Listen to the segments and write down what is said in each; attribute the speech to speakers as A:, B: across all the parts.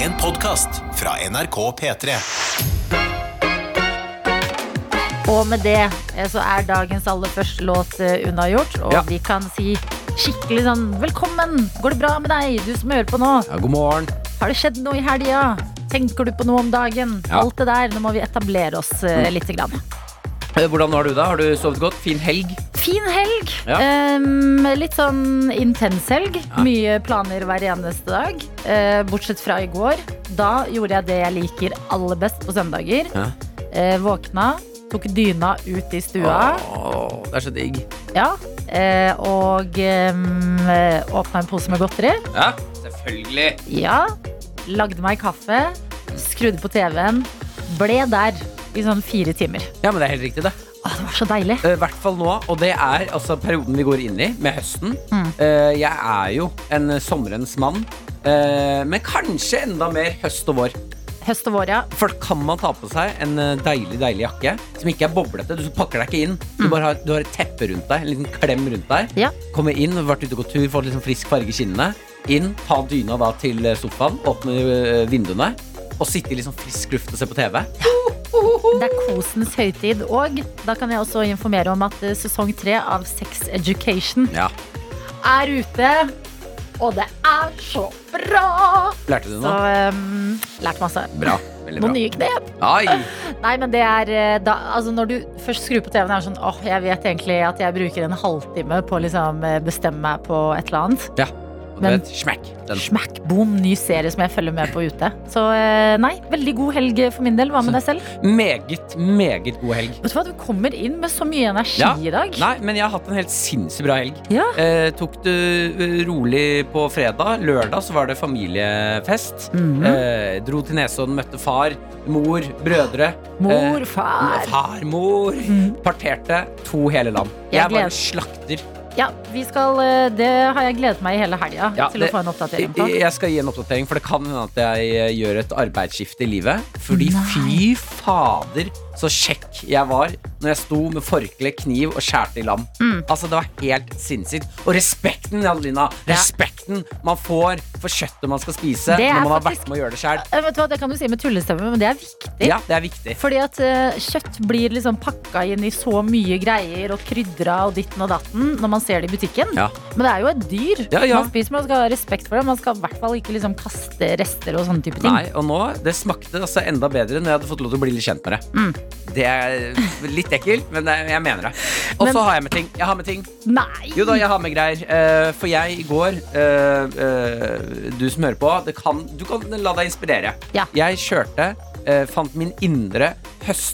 A: En podkast fra NRK P3.
B: Og med det eh, så er dagens aller første låt eh, unnagjort, og
C: Ja.
B: vi kan si skikkelig sånn velkommen! Går det bra med deg, du som hører på nå?
C: Ja, god morgen.
B: Har det skjedd noe i helga? Tenker du på noe om dagen?
C: Ja. Mm.
B: Alt det der. Nå må vi etablere oss eh, litt. Grann.
C: Eh, Hvordan har du det? Har du sovet godt? Fin helg?
B: Fin helg.
C: Ja.
B: Em, litt sånn intens helg. Mye planer hver eneste dag. Eh, bortsett fra i går. Da gjorde jeg det jeg liker aller best på søndager.
C: Ja.
B: Eh, våkna, tok dyna ut i stua.
C: Åh, det er så digg.
B: Ja, eh, og um, åpna en pose med godteri.
C: Ja, selvfølgelig.
B: Ja, lagde meg kaffe, skrudde på TV-en, ble der i sånn fire timer.
C: Ja, men det er helt riktig, det. Eh,
B: Å, det var så deilig.
C: I hvert fall nå, og det er altså perioden vi går inn i, med høsten. Eh, jeg er jo en sommerens mann, eh, men kanskje enda mer høst og vår.
B: Høst og vår, ja.
C: For da kan man ta på seg en eh, deilig, deilig jakke som ikke er boblete. Du pakker deg ikke inn. Du, bare har, du har et teppe rundt deg, en liten klem rundt deg.
B: Ja.
C: Komme inn, vært ute og gått tur, fått litt sånn frisk farge i kinnene. Inn, ta dyna da til eh, sofaen, åpne eh, vinduene og sitte i litt sånn frisk luft og se på TV.
B: Det er kosens høytid. Og da kan jeg også informere om at eh, sesong tre av Sex Education
C: Ja,
B: er ute. Og det er så bra!
C: Lærte du
B: Så
C: noe?
B: um, lært masse.
C: Bra. Veldig bra.
B: Noen nye knep.
C: Ai!
B: Nei, men det er eh, da, altså Når du først skrur på TV-en, er det sånn åh, jeg vet egentlig at jeg bruker en halvtime på å liksom eh, bestemme meg på et eller annet.
C: Ja. Og du
B: Men-
C: vet, smack. Den.
B: Smack boom, ny serie som jeg følger med på ute. Så eh, nei, veldig god helg for min del. Hva med deg selv?
C: Meget, meget god helg.
B: Vet du hva, du kommer inn med så mye energi
C: Ja.
B: i dag.
C: Nei, men jeg har hatt en helt sinnssykt bra helg.
B: Ja.
C: Eh, tok det eh, rolig på fredag. Lørdag så var det familiefest.
B: Mhm.
C: eh, dro til Nesodden, møtte far, mor, brødre.
B: Mor,
C: eh,
B: far.
C: Far, mor.
B: Mhm.
C: Parterte to hele land.
B: Jeg
C: Jeg
B: gleder-
C: bare slakter.
B: Ja, vi skal, eh, det har jeg gledet meg i hele helga
C: Ja,
B: til
C: det-
B: å få en oppdatering på.
C: Jeg skal gi en oppdatering, for det kan hende at jeg eh, gjør et arbeidsskifte i livet. Fordi
B: Nei.
C: fy fader, så kjekk jeg var når jeg sto med forkle, kniv og skjærte i lam.
B: Mm.
C: Altså, det var helt sinnssykt. Og respekten, Adelina!
B: Ja.
C: Respekten man får for kjøttet man skal spise
B: Det er
C: når man har
B: faktisk-
C: vært med å gjøre det sjøl.
B: Eh, Vet du hva, Det kan du si med tullestemme, men det er viktig.
C: Ja, det er viktig.
B: Fordi at eh, kjøtt blir liksom pakka inn i så mye greier og krydra og ditten og datten når man ser det i butikken.
C: Ja.
B: Men det er jo et dyr.
C: Ja, ja.
B: Man spiser, man skal ha respekt for det. Man skal i hvert fall ikke liksom kaste rester og sånne type ting.
C: Nei, og nå, Det smakte altså enda bedre når jeg hadde fått lov til å bli litt kjent med det.
B: Mm.
C: Det er litt ekkelt, men det er- jeg mener det. Og
B: Men-
C: så har jeg med ting. Jeg har med ting.
B: Nei.
C: Jo da, jeg har med greier. Eh, for jeg i går eh, eh, Du som hører på, det kan, du kan la deg inspirere.
B: Ja.
C: Jeg kjørte, eh, fant min indre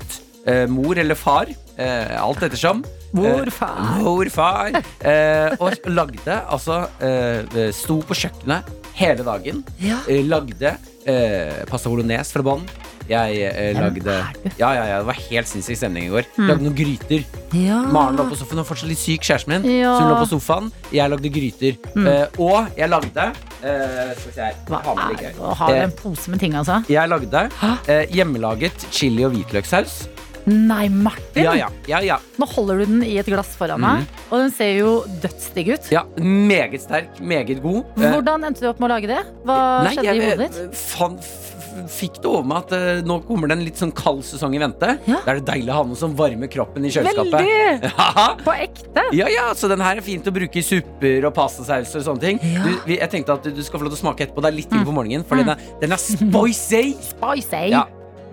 C: høstmor eller far. eh, alt ettersom.
B: Mor,
C: Eh,
B: far.
C: mor, far. Eh, og lagde altså eh, Sto på kjøkkenet hele dagen.
B: Ja.
C: Eh, lagde eh, pasta bolognese fra bånn. Jeg eh,
B: Hvem
C: lagde
B: er Hmm. du?
C: ja, ja, ja, Det var helt sinnssyk stemning i går. Lagde noen gryter.
B: Ja.
C: Maren lå på sofaen, hun var fortsatt litt syk, kjæresten min.
B: Ja. Hmm.
C: Så hun lå på sofaen, jeg lagde gryter. Eh, og jeg lagde eh, Skal vi se her.
B: Hva
C: Ha med
B: er
C: litt
B: det
C: greier.
B: å ha
C: Eh,
B: en pose med ting, altså?
C: jeg lagde
B: Hæ?
C: eh, hjemmelaget chili- og hvitløkssaus.
B: Nei, Martin!
C: Ja, Mm. ja, ja, ja,
B: Nå holder du den i et glass foran deg, og den ser jo dødsdigg ut.
C: ja. Meget sterk, meget god. Eh,
B: Hvordan endte du opp med å lage det? Hva
C: nei,
B: skjedde i
C: jeg,
B: hodet ditt?
C: eh, fan- f- fikk det over meg at eh, nå kommer det en litt sånn kald sesong i vente.
B: Ja.
C: Da er det deilig å ha noe som varmer kroppen i kjøleskapet.
B: Veldig!
C: Veldig!
B: På ekte!
C: Ja, ja, så den her er fint å bruke i supper og pastasauser og sånne ting.
B: Ja. Mm.
C: Du, vi- jeg tenkte at du, du skal få lov til å smake etterpå. Det er litt tidlig på morgenen, for den er, den er spicy!
B: Spicy!
C: Ja.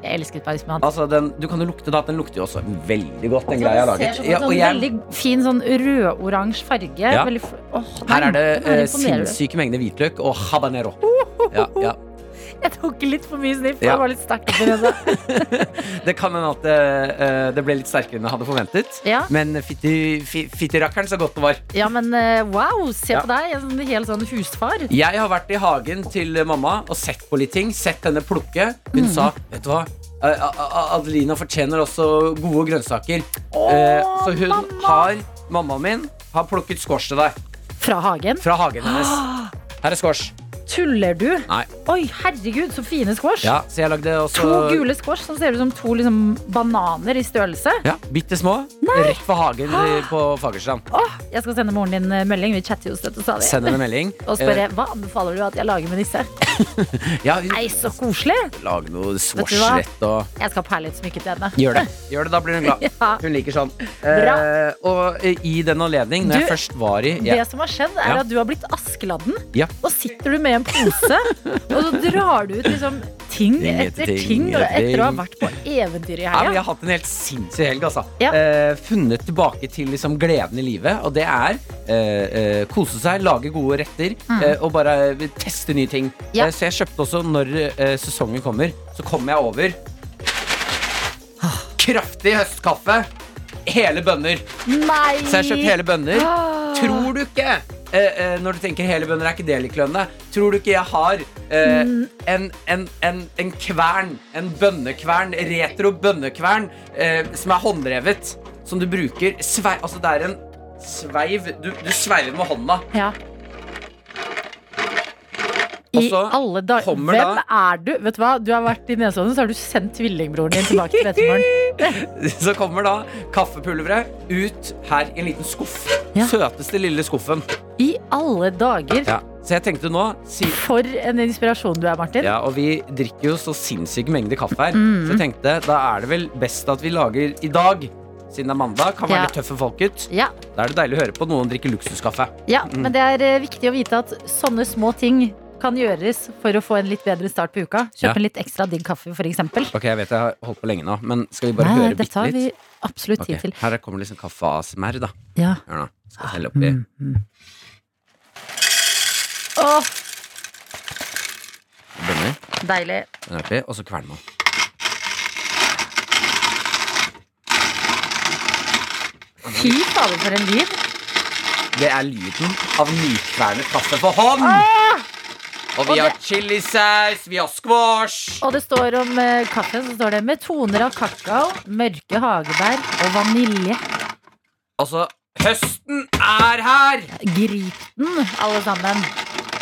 B: Jeg elsker spicy mat.
C: Altså, den, du kan jo lukte da, at den lukter jo også veldig godt, den
B: Ja,
C: greia jeg har
B: det
C: laget.
B: ser sånn ut
C: Ja,
B: som
C: og
B: en
C: jeg,
B: Veldig fin sånn rød-oransje farge.
C: Ja.
B: Veldig f- Åh,
C: her
B: nei,
C: er det
B: her imponerer
C: eh,
B: du.
C: sinnssyke mengder hvitløk og habanero. Ja, ja.
B: Jeg tok litt for mye sniff.
C: Ja.
B: Jeg var litt sterk oppi nesa.
C: Det kan hende at eh, eh, det ble litt sterkere enn jeg hadde forventet.
B: Ja.
C: Men fytti fy- fytti rakkeren så godt det var.
B: Ja, men eh, wow, se
C: Ja.
B: på deg. En sånn, hel sånn husfar.
C: Jeg har vært i hagen til mamma og sett på litt ting. Sett henne plukke. Hun
B: Mm.
C: sa Vet du hva? A- A- A- Adelina fortjener også gode grønnsaker.
B: Åh,
C: Eh, så hun
B: mamma!
C: har Mammaen min har plukket squash til deg
B: Fra hagen.
C: fra hagen hennes. Her er squash.
B: Tuller du?
C: Nei.
B: Oi, herregud, så fine squash.
C: Ja, så jeg lagde også
B: To gule squash som ser ut som to liksom, bananer i størrelse.
C: Ja, bitte små. Rett på hagen i- på Fagerstrand.
B: Åh, jeg skal sende moren din eh, melding. Vi chatter jo støtt og stadig.
C: Send Eh. henne en melding.
B: Og spørre hva anbefaler du at jeg lager med disse.
C: Eh, Ja,
B: Nei, så koselig!
C: lag noe
B: Vet du hva?
C: swashrett og
B: Jeg skal ha perlesmykke til henne.
C: Gjør det. Gjør det, Da blir hun glad.
B: Ja.
C: Hun liker sånn.
B: Bra.
C: Eh, og eh, i den anledning, når jeg
B: Du,
C: først var i
B: Det
C: ja,
B: som har skjedd, er
C: Ja.
B: at du har blitt Askeladden.
C: Ja.
B: Og sitter du med en pose, og så drar du ut liksom ting
C: Ting etter
B: etter
C: ting
B: ting, og
C: etter
B: etter å ha
C: ting.
B: vært på eventyr i
C: ja, men jeg
B: helga.
C: har hatt en helt sinnssyk helg, altså.
B: Ja.
C: Eh, funnet tilbake til liksom gleden i livet, og det er eh, eh, kose seg, lage gode retter eh, og bare eh, teste nye ting.
B: Mm. Ja.
C: Eh, så jeg kjøpte også, når eh, sesongen kommer, så kommer jeg over
B: Ah.
C: Kraftig høstkaffe. Hele bønner.
B: Nei!
C: Så jeg har kjøpt hele bønner.
B: Ah.
C: Tror du ikke eh, eh, Når du tenker hele bønner er ikke det like lønne Tror du ikke jeg har eh,
B: Mm.
C: en, en, en, en kvern En bønnekvern, retro bønnekvern eh, Som er håndrevet Som du bruker svei, Altså det er en sveiv Du, du sveiver med hånda
B: Ja.
C: Og
B: I
C: så
B: alle dager
C: kommer
B: Hvem
C: da-
B: er du? Vet du hva? Du har vært i Nesodden, så har du sendt tvillingbroren din tilbake til Vetemorgen.
C: Så kommer da kaffepulveret ut her i en liten skuff
B: Ja.
C: Søteste lille skuffen
B: I alle dager.
C: Så jeg tenkte nå si,
B: For en inspirasjon du er, Martin.
C: Ja, og vi drikker jo så sinnssyk mengde kaffe her.
B: Mm.
C: Så jeg tenkte, da er det vel best at vi lager i dag. Siden det er mandag, kan være
B: Ja.
C: litt tøffe folk ut.
B: Ja,
C: Da er det deilig å høre på noen drikke luksuskaffe.
B: ja, men det er eh, viktig å vite at sånne små ting kan gjøres for å få en litt bedre start på uka. Kjøp
C: Ja.
B: en litt ekstra digg kaffe, f.eks.
C: Ok, jeg vet jeg har holdt på lenge nå, men skal vi bare
B: Nei,
C: høre
B: dette
C: bitte
B: har vi
C: litt?
B: absolutt
C: Ok,
B: tid til.
C: Her kommer liksom kaffe ASMR, da.
B: Ja.
C: Hør nå. Skal helle oppi.
B: Mm. Åh,
C: Bønner.
B: deilig.
C: Den er oppi, og så kverner man.
B: Fy fader, for en lyd.
C: Det er lyden av nykvernet kaffe for hånd!
B: Ah!
C: Og
B: Og
C: vi har
B: det-
C: chilisaus, vi har squash!
B: Og det står om eh, kaffen, så står det med toner av kakao, mørke hagebær og vanilje.
C: Altså, høsten er her!
B: Grip den, alle sammen.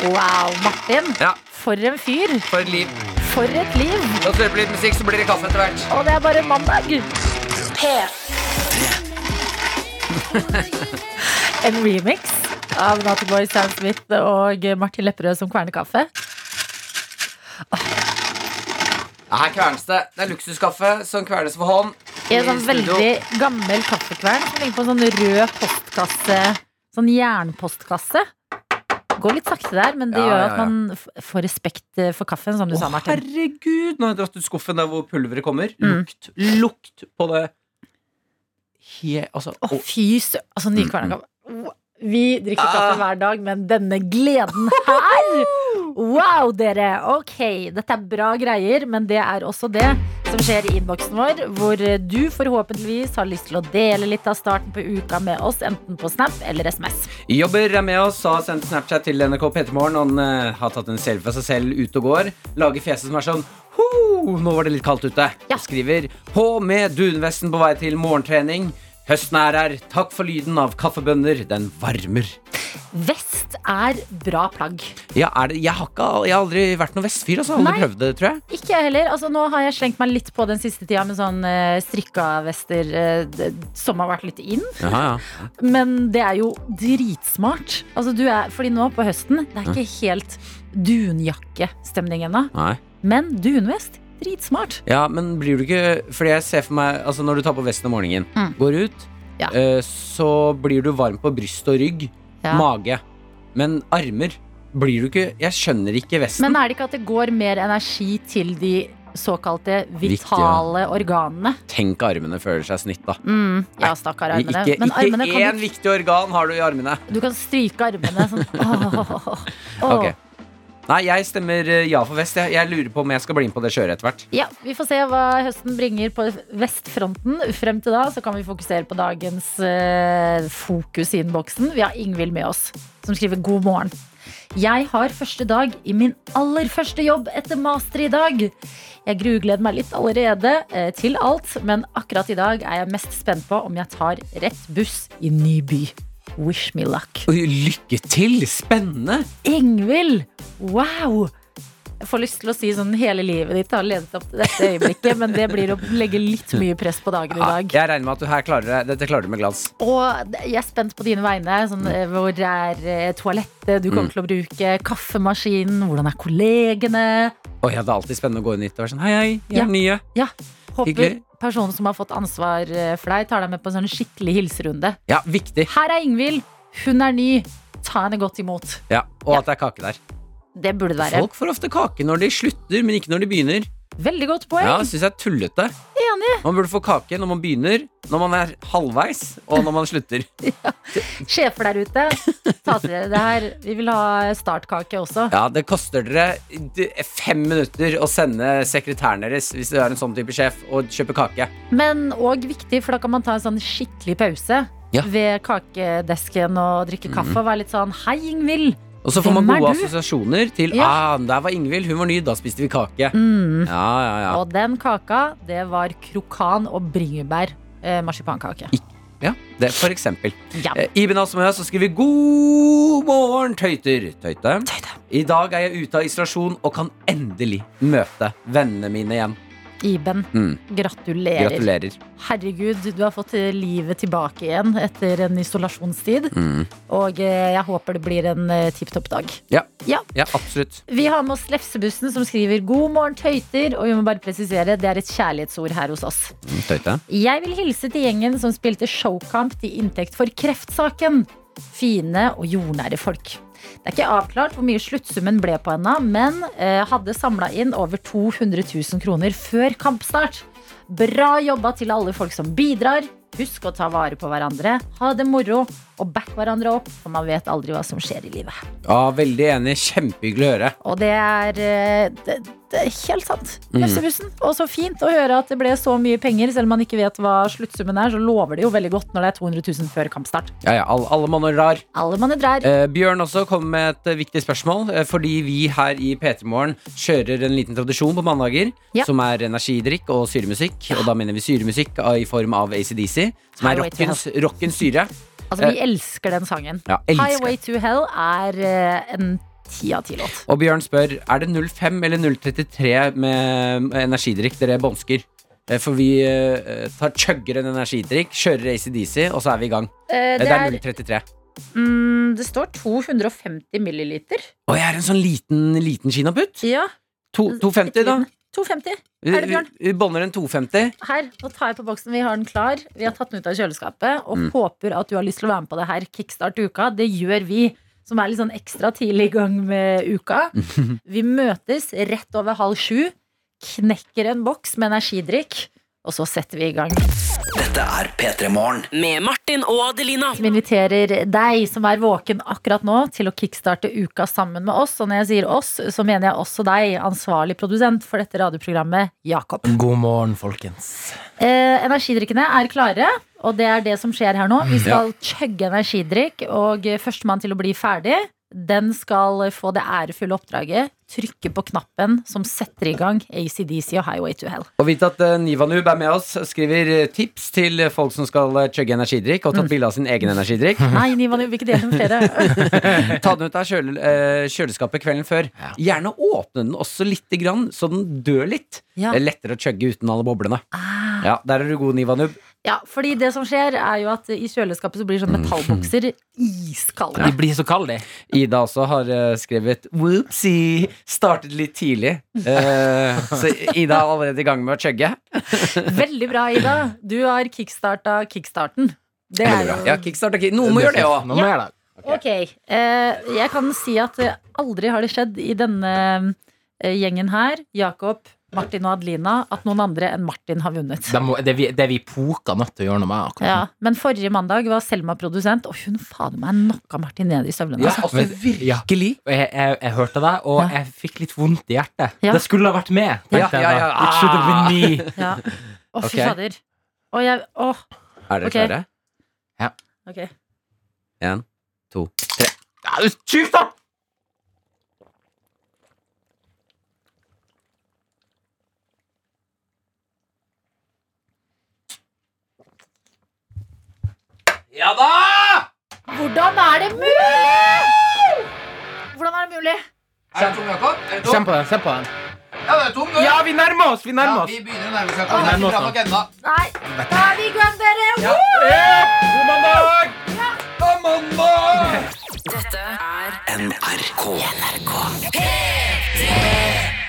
B: Wow, Martin.
C: Ja,
B: For en fyr.
C: for et liv.
B: For et liv.
C: La oss høre på litt musikk, så blir det kaffe etter hvert.
B: Og det er bare mandag. en remix av Naughty Boy Sam Smith og Martin Lepperød som kverner kaffe.
C: Ja, her kvernes det. Det er luksuskaffe som kvernes for hånd.
B: I en
C: I
B: sånn
C: studio.
B: veldig gammel kaffekvern som ligger på en sånn rød postkasse. Sånn jernpostkasse. Går litt sakte der, men det
C: Ja,
B: gjør
C: ja,
B: at
C: ja.
B: man f- får respekt eh, for kaffen, som du
C: Å,
B: sa, Martin.
C: herregud! Nå har jeg dratt ut skuffen der hvor pulveret kommer.
B: Mm.
C: Lukt, lukt på det He, altså,
B: Å,
C: å,
B: fy sø... Altså, ny
C: Mm,
B: kvernekaffe. Vi drikker
C: Ah.
B: kaffe hver dag, men denne gleden her Wow, dere! Ok, dette er bra greier, men det er også det som skjer i innboksen vår, hvor eh, du forhåpentligvis har lyst til å dele litt av starten på uka med oss, enten på Snap eller SMS.
C: Jobber er med oss, har sendt Snapchat til NRK Petermorgen. Han eh, har tatt en selfie av seg selv ute og går. Lager fjeset som er sånn Ho! Nå var det litt kaldt ute.
B: Ja.
C: Skriver på med dunvesten på vei til morgentrening. Høsten er her. Takk for lyden av kaffebønner. Den varmer.
B: Vest er bra plagg.
C: Ja, er det, jeg, har ikke, jeg har aldri vært noen vestfyr, altså. Aldri
B: Nei.
C: prøvd det, tror jeg.
B: Ikke jeg heller. Altså, nå har jeg slengt meg litt på den siste tida med sånn eh, strikka vester eh, d- som har vært litt inn.
C: Jaha, ja.
B: Men det er jo dritsmart. Altså, du er, fordi nå på høsten, det er ikke helt dunjakkestemning ennå.
C: Nei.
B: Men dunvest, dritsmart.
C: ja, men blir du ikke Fordi jeg ser for meg Altså Når du tar på vesten om morgenen,
B: Mm.
C: går ut,
B: Ja.
C: eh, så blir du varm på bryst og rygg, mage. Men armer blir du ikke Jeg skjønner ikke vesten.
B: Men er det ikke at det går mer energi til de såkalte vitale organene?
C: Tenk armene føler seg snytt, da.
B: Mm, ja, stakkar armene.
C: Ikke,
B: Men armene
C: ikke
B: kan
C: én
B: du,
C: viktig organ har du i armene.
B: du kan stryke armene sånn. Åh, åh.
C: Ok. Nei, jeg stemmer eh, ja for vest. Jeg, jeg lurer på om jeg skal bli med på det kjøret etter hvert.
B: Ja, Vi får se hva høsten bringer på vestfronten. Frem til da så kan vi fokusere på dagens eh, fokus i innboksen. Vi har Ingvild med oss, som skriver god morgen. Jeg har første dag i min aller første jobb etter master i dag. Jeg grugleder meg litt allerede eh, til alt, men akkurat i dag er jeg mest spent på om jeg tar rett buss i ny by. Wish me luck.
C: Oi, Lykke til! Spennende!
B: Ingvild! Wow! Jeg får lyst til å si sånn hele livet ditt har ledet opp til dette øyeblikket, men det blir å legge litt mye press på dagen i
C: Ja,
B: dag.
C: Ah, jeg regner med at du her klarer det. Dette klarer du med glans.
B: Og jeg er spent på dine vegne.
C: Mm.
B: Sånn, eh, hvor er eh, toalettet du kommer til å bruke? Kaffemaskinen? Hvordan er kollegene?
C: Oi, ja, det er alltid spennende å gå inn hit og være sånn Hei, hei, jeg
B: Ja.
C: er nye.
B: Ja, Håper
C: Hyggelig.
B: personen som har fått ansvar eh, for deg, tar deg med på en sånn skikkelig hilserunde.
C: Ja, viktig.
B: Her er Ingvild. Hun er ny. Ta henne godt imot.
C: Ja, Og at det er kake der.
B: Det burde det være.
C: Folk får ofte kake når de slutter, men ikke når de begynner.
B: Veldig godt poeng.
C: Ja, syns jeg er tullete.
B: Enig.
C: Man burde få kake når man begynner, når man er halvveis, og når man slutter.
B: Sjefer der ute, ta til dere det her. Vi vil ha startkake også.
C: Ja, det koster dere d- fem minutter å sende sekretæren deres, hvis du er en sånn type sjef, og kjøpe kake.
B: Men òg viktig, for da kan man ta en sånn skikkelig pause
C: Ja. Mhm.
B: ved kakedesken og drikke kaffe og være litt sånn Hei, Ingvild.
C: Og så får man
B: Hvem er
C: gode
B: du?
C: assosiasjoner til
B: Ja.
C: ah, der var Ingvild, hun var ny, da spiste vi kake.
B: Mm.
C: Ja, ja, ja.
B: Og den kaka, det var krokan og bringebær. Eh, marsipankake.
C: ja det, for eksempel.
B: Ja.
C: Eh, Iben Asmøy, så skriver vi, god morgen, tøyter. Tøyte. I dag er jeg ute av isolasjon og kan endelig møte vennene mine igjen.
B: Iben,
C: Mm.
B: gratulerer.
C: Gratulerer.
B: Herregud, du har fått eh, livet tilbake igjen etter en isolasjonstid.
C: Mm.
B: Og eh, jeg håper det blir en eh, tipp topp dag.
C: Ja.
B: Ja.
C: ja, absolutt.
B: Vi har med oss Lefsebussen som skriver 'God morgen, tøyter'. Og vi må bare presisere, det er et kjærlighetsord her hos oss.
C: Mm, Tøyte.
B: Jeg vil hilse til gjengen som spilte showkamp til inntekt for kreftsaken. Fine og jordnære folk. Det er ikke avklart hvor mye sluttsummen ble på henne, men eh, hadde samla inn over 200 000 kroner før kampstart. Bra jobba til alle folk som bidrar. Husk å ta vare på hverandre, ha det moro og back hverandre opp, for man vet aldri hva som skjer i livet.
C: Ja, veldig enig. Kjempehyggelig å høre.
B: Og det er, eh, det, det er helt sant.
C: Mhm.
B: Lefsebussen. Og så fint å høre at det ble så mye penger, selv om man ikke vet hva sluttsummen er. Så lover det jo veldig godt når det er 200 000 før kampstart.
C: Ja, ja, alle, alle mann og rar.
B: Alle mann er der.
C: Eh, Bjørn også kom med et eh, viktig spørsmål, eh, fordi vi her i P3 Morgen kjører en liten tradisjon på mandager,
B: Ja.
C: som er energidrikk og syremusikk. Og da mener vi syremusikk eh, i form av ACDC, som er
B: Highway to
C: rockens, rockens syre.
B: Altså, vi elsker den sangen.
C: eh. Ja, elsker.
B: Highway to Hell er eh, en ti av ti-låt.
C: Og Bjørn spør er det 05 eller 033 med med energidrikk dere bånsker. Eh, For vi eh, tar chugger en energidrikk, kjører ACDC, og så er vi i gang. Eh, Det er 033.
B: mm, det står 250 milliliter.
C: Og jeg er en sånn liten, liten kinaputt.
B: Ja.
C: To- 250, da.
B: 250.
C: Vi,
B: Er det
C: vi,
B: Bjørn?
C: vi bånder en 250.
B: Her, nå tar jeg på boksen. Vi har den klar. Vi har tatt den ut av kjøleskapet og håper at du har lyst til å være med på det her kickstart-uka. Det gjør vi, som er litt sånn ekstra tidlig i gang med uka. Vi møtes rett over halv sju, knekker en boks med energidrikk, og så setter vi i gang.
D: Med Martin og Adelina.
B: Vi inviterer deg som er våken akkurat nå, til å kickstarte uka sammen med oss. Og når jeg sier oss, så mener jeg også deg, ansvarlig produsent for dette radioprogrammet, Jakob.
E: God morgen, folkens.
B: Eh, energidrikkene er klare, og det er det som skjer her nå.
E: Mm,
B: Vi skal chugge energidrikk, og eh, førstemann til å bli ferdig, den skal eh, få det ærefulle oppdraget. Trykke på knappen som setter i gang ACDC og Highway to Hell.
C: Og vite at eh, Nivanub er med oss, skriver eh, tips til eh, folk som skal eh, chugge energidrikk, og tatt bilde av sin egen energidrikk.
B: Nei, Niva, vi vil ikke dele med flere.
C: Ta den ut av kjøle, eh, kjøleskapet kvelden før. Gjerne åpne den også lite grann, så den dør litt.
B: Ja.
C: Det er lettere å chugge uten alle boblene. Ja, Der er du god, Nivanub.
B: Ja, fordi det som skjer, er jo at eh, i kjøleskapet så blir sånne metallbokser iskalde.
E: De blir så kalde, de.
C: Ida også har eh, skrevet Whoopsie! Startet litt tidlig. Eh, så Ida er allerede i gang med å chugge.
B: Veldig bra, Ida. Du har kickstarta kickstarten. Det er jo
C: Ja, kickstart, ok. Noen må gjøre det òg.
E: Nå må jeg gjøre det.
B: Ok, eh, jeg kan si at eh, aldri har det skjedd i denne eh, gjengen her, Jakob, Martin og Adelina, at noen andre enn Martin har vunnet.
E: Det, må, det, er vi, det er vi poka nødt til å gjøre noe med. akkurat nå.
B: Ja, men forrige mandag var Selma produsent, og hun fader meg knocka Martin ned i støvlene.
C: Ja,
B: altså.
C: altså,
E: Ja.
C: virkelig.
E: Og Jeg, jeg, jeg hørte deg, og
B: Ja.
E: jeg fikk litt vondt i hjertet.
B: Ja.
E: Det skulle ha vært med.
C: Ja,
E: tenkte jeg
C: ja,
E: da.
C: ja.
E: It should have been me.
B: Ja. Å, fy
C: Ok.
B: fader. Å, jeg, å,
C: Er dere
B: Ok.
C: klare?
B: ok.
C: Én, to, tre.
E: Ja, du Skyt, da!
C: Ja da!
B: Hvordan er det mulig?! Hvordan er det mulig?
D: Er det tom, Jakob? Er det tom?
E: Kjenn på den. kjenn på den
D: Ja, det er tom, du.
E: Ja, vi nærmer oss! Vi
D: Ja,
E: nærmer oss.
D: vi begynner å nærme oss, Jakob. Det er
E: Nærme
D: ikke
E: oss
D: bra
E: nå.
D: nok ennå.
B: Nei, da er vi i gang, dere!
C: Ja. Eh, God mandag! God mandag!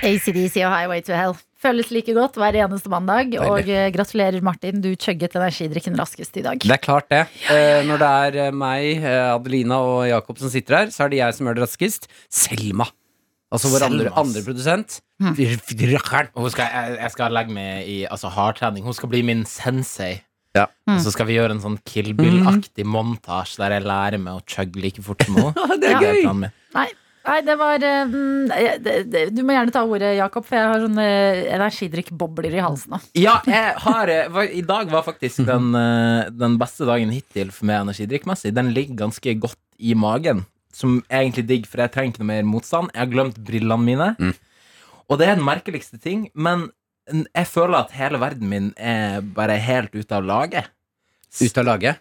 B: ACDC og Highway to Hell. Føles like godt hver eneste mandag. Og eh, gratulerer, Martin. Du chugget energidrikken raskest i dag.
C: Det er klart, det. Eh, når det er eh, meg, eh, Adelina og Jakob som sitter her, så er det jeg som gjør det raskest. Selma. Altså vår andre,
E: Selma, ass.
C: andre produsent. Rakkeren.
E: Og Hun skal, jeg, jeg skal legge meg i altså, hardtrening. Hun skal bli min sensei.
C: Ja.
E: Og så skal vi gjøre en sånn Kill Bill-aktig montasje der jeg lærer meg å chugge like fort som henne.
C: Det
B: Ja.
C: er gøy!
E: planen min.
B: Nei, nei, det var eh, mm, eh, det, det, Du må gjerne ta ordet, Jakob, for jeg har sånne eh, energidrikkbobler i halsen nå.
E: Ja, jeg har, eh, var- I dag var faktisk den, eh, den beste dagen hittil for meg energidrikkmessig. Den ligger ganske godt i magen, som er egentlig digg, for jeg trenger ikke noe mer motstand. Jeg har glemt brillene mine.
C: Mm.
E: Og det er den merkeligste ting, men n- jeg føler at hele verden min er bare helt ute av laget.
C: Ut av laget.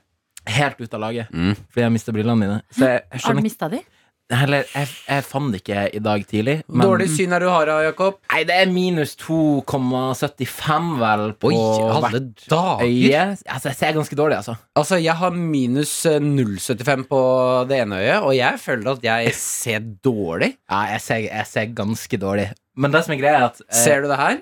E: Helt ute av laget.
C: Mm.
E: Fordi jeg mista brillene mine. Så jeg, jeg
B: Har du
E: skjønner ikke
B: mista de?
E: Eller, jeg, jeg fant det ikke i dag tidlig.
C: Dårlig syn er du har, da, Jakob.
E: Nei, det er minus 2,75 vel på hvert
C: dager!
E: øye. Altså, jeg ser ganske dårlig, altså.
C: Altså, jeg har minus eh, 0,75 på det ene øyet, og jeg føler at jeg ser dårlig.
E: Ja, jeg ser, jeg ser ganske dårlig. Men det som er greia, er at eh,
C: Ser du det her?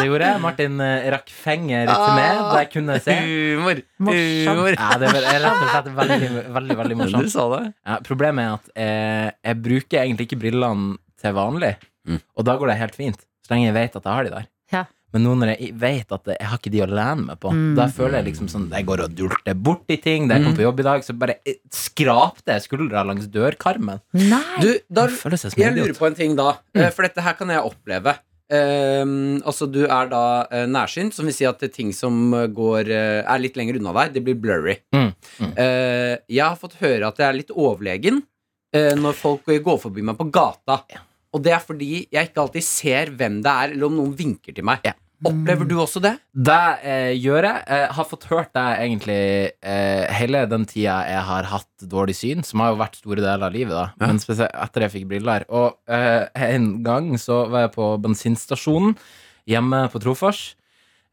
E: Det gjorde jeg. Martin eh, rakk fingeren til meg
C: Ah.
E: da jeg kunne se.
C: Humor.
E: Eh,
B: Morsomt.
C: Humor.
E: Ja, det er vel- er rett og slett veldig, veldig, veldig
C: Du
E: morsomt.
C: sa det.
E: Ja, problemet er at eh, jeg bruker egentlig ikke brillene til vanlig,
C: Mm.
E: og da går det helt fint, så lenge jeg vet at jeg har de der.
B: Ja.
E: Men nå når jeg vet at jeg har ikke de å lene meg på,
B: Mm.
E: da føler jeg liksom sånn Jeg går og dulter borti ting. Da jeg kom på jobb i dag, så bare eh, skrapte jeg skuldra langs dørkarmen.
B: Nei!
C: Du, altså- da
E: Jeg føler seg som
C: Jeg
E: en
C: lurer
E: idiot. Mm.
C: på en ting da, eh, for dette her kan jeg oppleve. Ehm, altså Du er da eh, nærsynt, som vil si at det er ting som eh, går, eh, er litt lenger unna deg, det blir blurry.
E: Mm, mm.
C: Eh, jeg har fått høre at jeg er litt overlegen eh, når folk går forbi meg på gata. Og det er fordi jeg ikke alltid ser hvem det er, eller om noen vinker til meg.
E: Ja.
C: Opplever du også det?
E: Det eh, gjør jeg. Jeg har fått hørt det egentlig eh, hele den tida jeg har hatt dårlig syn, som har jo vært store deler av livet, da. Men spesielt etter jeg fikk briller. Og eh, en gang så var jeg på bensinstasjonen hjemme på Trofors.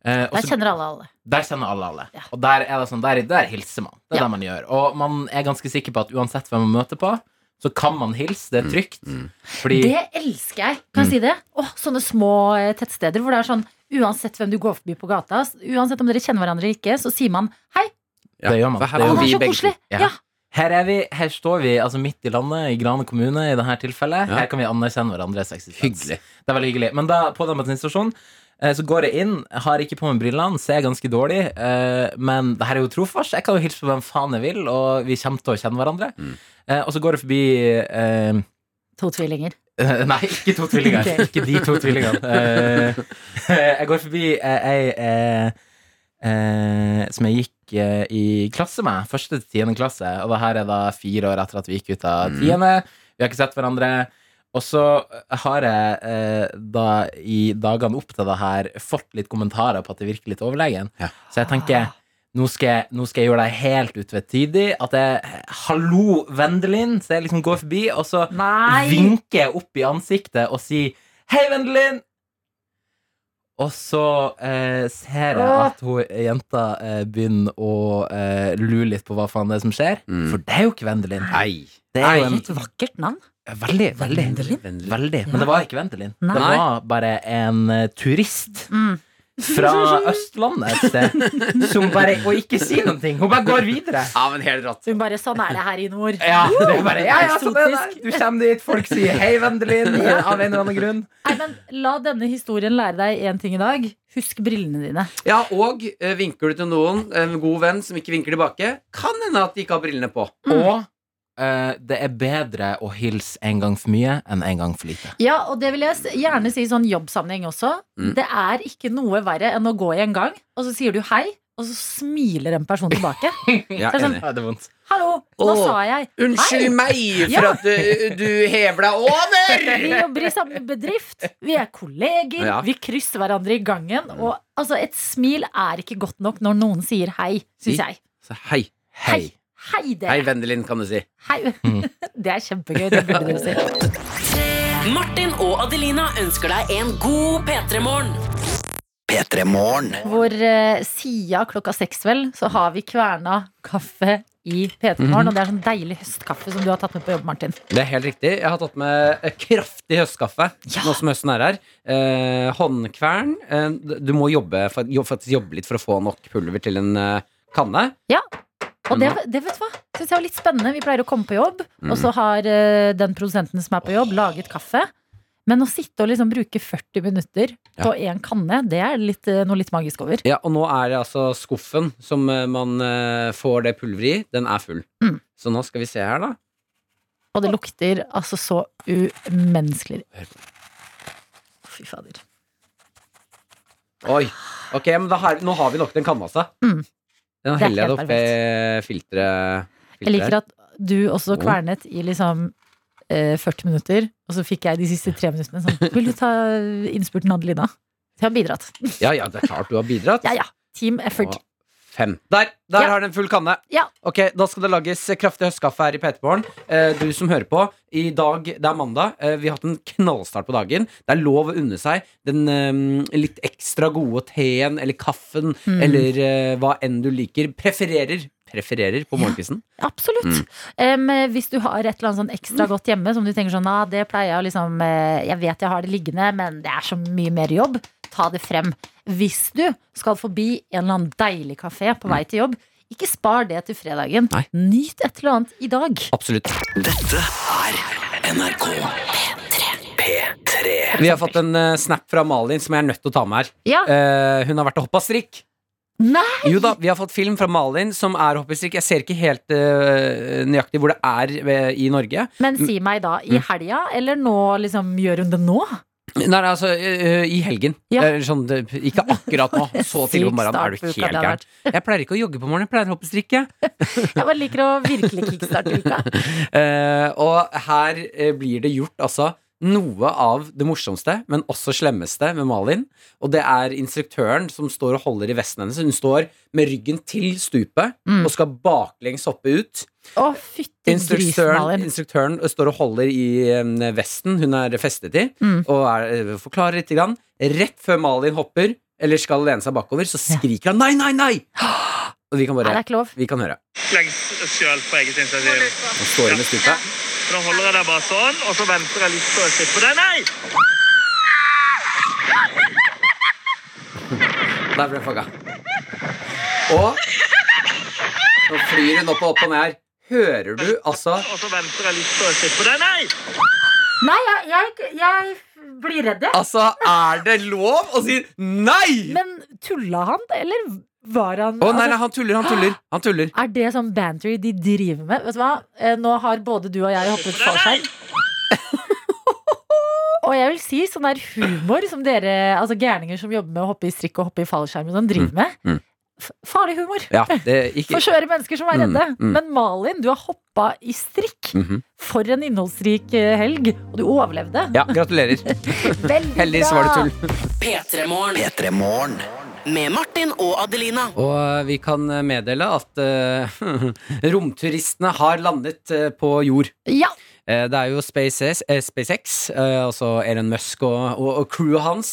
E: Eh, og
B: Der
E: så-
B: kjenner alle alle.
E: der kjenner alle alle.
B: Ja.
E: Og der er det sånn, der, der hilser man. Det
B: Ja.
E: er det man gjør. Og man er ganske sikker på at uansett hvem man møter på, så kan man hilse. Det er trygt. Fordi
B: Det elsker jeg! Kan jeg si det? Åh, sånne små eh, tettsteder hvor det er sånn Uansett hvem du går forbi på gata, s- uansett om dere kjenner hverandre eller ikke, så sier man hei.
E: det gjør man.
C: For her
B: Å,
E: Det
B: det
C: var
E: gjør man.
B: er
C: vi
B: så
C: begge
B: koselig!
E: to. Ja.
B: Ja.
E: Her, er vi, her står vi altså midt i landet, i Grane kommune i dette tilfellet.
C: Ja.
E: Her kan vi anerkjenne hverandres eksistens. Det er veldig hyggelig. Men da, på den bensinstasjonen eh, så går jeg inn, har ikke på meg brillene, ser ganske dårlig. eh, Men det her er jo Trofors. Jeg kan jo hilse på hvem faen jeg vil, og vi kommer til å kjenne hverandre. Eh, Og så går jeg forbi eh,
B: To tvillinger.
E: Eh, nei, ikke to tvillinger.
B: Ok.
E: Ikke de to tvillingene. Eh, jeg går forbi eh, ei eh, eh, som jeg gikk eh, i klasse med. Første til tiende klasse. Og det her er da fire år etter at vi gikk ut av tiende. Vi har ikke sett hverandre. Og så har jeg eh, da i dagene opp til det her fått litt kommentarer på at jeg virker litt overlegen.
C: Ja.
E: Så jeg tenker nå skal, jeg, nå skal jeg gjøre deg helt utvetydig. At jeg eh, Hallo, Vendelin! Så jeg liksom går forbi, og så
B: Nei!
E: vinker opp i ansiktet og sier 'Hei, Vendelin!' Og så eh, ser jeg
B: Åh.
E: at hun, jenta eh, begynner å eh, lure litt på hva faen det er som skjer.
C: Mm.
E: For det er jo ikke Vendelin.
C: Nei.
E: Det er jo
B: For
E: en,
B: Et vakkert navn.
E: veldig, veldig,
B: Vendelin?
E: veldig. Men det var ikke Vendelin.
B: Nei.
E: Det var bare en eh, turist
B: Mm.
E: fra Østlandet et sted som bare Og ikke sier noen ting. Hun bare går videre.
C: Ja, men helt rått.
B: Så hun bare Sånn er det her i nord.
E: Ja, det er bare, ja, ja, sånn er det.
B: Eksotisk.
E: Du kommer dit, folk sier 'Hei, Vendelin', av en eller annen grunn.
B: Nei, men La denne historien lære deg én ting i dag. Husk brillene dine.
C: Ja, og eh, vinker du til noen, en god venn som ikke vinker tilbake, kan hende at de ikke har brillene på.
E: Og eh, det er bedre å hilse en gang for mye enn en gang for lite.
B: Ja, og det vil jeg s- gjerne si i sånn jobbsammenheng også.
C: Mm.
B: Det er ikke noe verre enn å gå i en gang, og så sier du hei, og så smiler en person tilbake.
C: Jeg
B: Det er sånn-
E: det er vondt.
B: Hallo, hva
C: Åh.
B: sa jeg?
C: Unnskyld meg for
B: Ja.
C: at du, du hever deg over!
B: Vi jobber i samme bedrift, vi er kolleger,
C: Ja.
B: vi krysser hverandre i gangen. Og altså, et smil er ikke godt nok når noen sier hei, syns jeg.
C: Så hei.
E: Hei.
B: Hei,
C: Hei,
B: dere.
C: Vendelin, kan du si.
B: Hei. Det er kjempegøy. Det burde du si.
F: Martin og Adelina ønsker deg en god P3-morgen.
B: Hvor eh, siden klokka seks vel, så har vi kverna kaffe i P3 Morgen. Og det er sånn deilig høstkaffe som du har tatt med på jobb, Martin.
C: Det er helt riktig. Jeg har tatt med eh, kraftig høstkaffe nå som høsten er her. Eh, håndkvern. Eh, du må jobbe, fa- jo- faktisk jobbe litt for å få nok pulver til en eh, kanne.
B: Og det, det vet du hva? Synes jeg var litt spennende. Vi pleier å komme på jobb, og så har eh, den produsenten som er på jobb, laget kaffe. Men å sitte og liksom bruke 40 minutter på én kanne, det er litt, eh, noe litt magisk over.
C: Ja, og nå er det altså skuffen som eh, man eh, får det pulveret i, den er full.
B: Mm.
C: Så nå skal vi se her, da.
B: Og det lukter altså så umenneskelig. Fy fader.
C: Oi. Ok, men da har, nå har vi nok til en kanne, altså.
B: Mm.
C: Den
B: Det er
C: heller jeg det
B: helt
C: oppi filteret.
B: Jeg liker at du også
C: Mm.
B: kvernet i liksom eh, 40 minutter, og så fikk jeg de siste tre minuttene sånn Vil du ta innspurten, Adelina? Jeg har bidratt.
C: Ja, ja, det er klart du har bidratt.
B: Ja, ja. Team effort.
C: Og Fem. Der! Der
B: Ja.
C: har den full kanne.
B: Ja.
C: Ok, Da skal det lages kraftig høstkaffe her i PT-morgen. Eh, du som hører på, i dag det er mandag. Eh, vi har hatt en knallstart på dagen. Det er lov å unne seg den eh, litt ekstra gode teen eller kaffen
B: Mm.
C: eller eh, hva enn du liker. Prefererer. Prefererer på morgenkvisten.
B: Absolutt. Em, eh, hvis du har et eller annet sånn ekstra godt hjemme som du tenker sånn ah, det pleier jeg å liksom eh, Jeg vet jeg har det liggende, men det er så mye mer jobb. Ta det frem. Hvis du skal forbi en eller annen deilig kafé på vei til jobb, ikke spar det til fredagen.
C: Nei.
B: Nyt et eller annet i dag.
C: Absolutt. Vi har fått en eh, snap fra Malin som jeg er nødt til å ta med her.
B: Ja.
C: Eh, hun har vært og hoppa strikk.
B: Nei!
C: Jo da, vi har fått film fra Malin som er hoppestrikk. Jeg ser ikke helt eh, nøyaktig hvor det er ved- i Norge.
B: Men si meg da, i
C: Mm.
B: helga, eller nå, liksom, gjør hun det nå?
C: Nei, nei altså eh, i helgen.
B: Ja.
C: Eh, sånn, det- ikke akkurat nå. Så tidlig på morgenen. Er du
B: Syk start
C: helt
B: på uka det
C: gæren?
B: har
C: Jeg pleier ikke å jogge på morgenen, jeg pleier å hoppestrikke.
B: Jeg bare liker å virkelig kickstarte uka.
C: Eh, og her eh, blir det gjort altså noe av det morsomste, men også slemmeste med Malin. Og det er instruktøren som står og holder i vesten hennes. Hun står med ryggen til stupet
B: Mm.
C: og skal baklengs hoppe ut.
B: Å, fytti grisen,
C: Instruktøren,
B: Malin.
C: instruktøren står og holder i eh, vesten hun er festet i,
B: Mm.
C: og er, eh, forklarer litt. Grann. Rett før Malin hopper, eller skal lene seg bakover, så skriker han 'nei, nei, nei'! Og vi kan
B: Nei, det
C: bare
B: er ikke lov.
C: Vi kan høre.
G: lengs sjøl på eget initiativ.
C: Nå står hun ved stupet.
G: Da holder jeg deg bare sånn, og så venter jeg litt så jeg slipper deg. Nei!
C: Der ble hun fanga. Og Nå flyr hun opp og opp og ned her. Hører du altså
G: Og så venter jeg litt så jeg slipper deg. Nei!
B: Nei, jeg, jeg, jeg blir redd, jeg.
C: Altså, er det lov å si nei?!
B: Men tulla han, eller var han
C: Å nei,
B: altså,
C: nei, han tuller, han tuller. Han tuller.
B: Er det sånn banter de driver med? Vet du hva? Eh, Nå har både du og jeg hoppet fallskjerm. Og jeg vil si sånn der humor som dere, altså gærninger som jobber med å hoppe i strikk og hoppe i fallskjerm, og sånn, driver med.
C: mm.
B: F- Farlig humor.
C: Ja, det gikk
B: Forskjøre mennesker som er redde.
C: Mm, mm.
B: Men Malin, du har hoppa i strikk.
C: Mhm.
B: For en innholdsrik eh, helg. Og du overlevde.
C: Ja, gratulerer.
B: Veldig
C: Heldigvis var det tull.
F: P3-morgen. Med Martin og Adelina.
C: Og vi kan meddele at eh, romturistene har landet eh, på jord.
B: Ja,
C: Eh, det er jo SpaceX, eh, SpaceX eh, altså Elon Musk og, og, og crewet hans,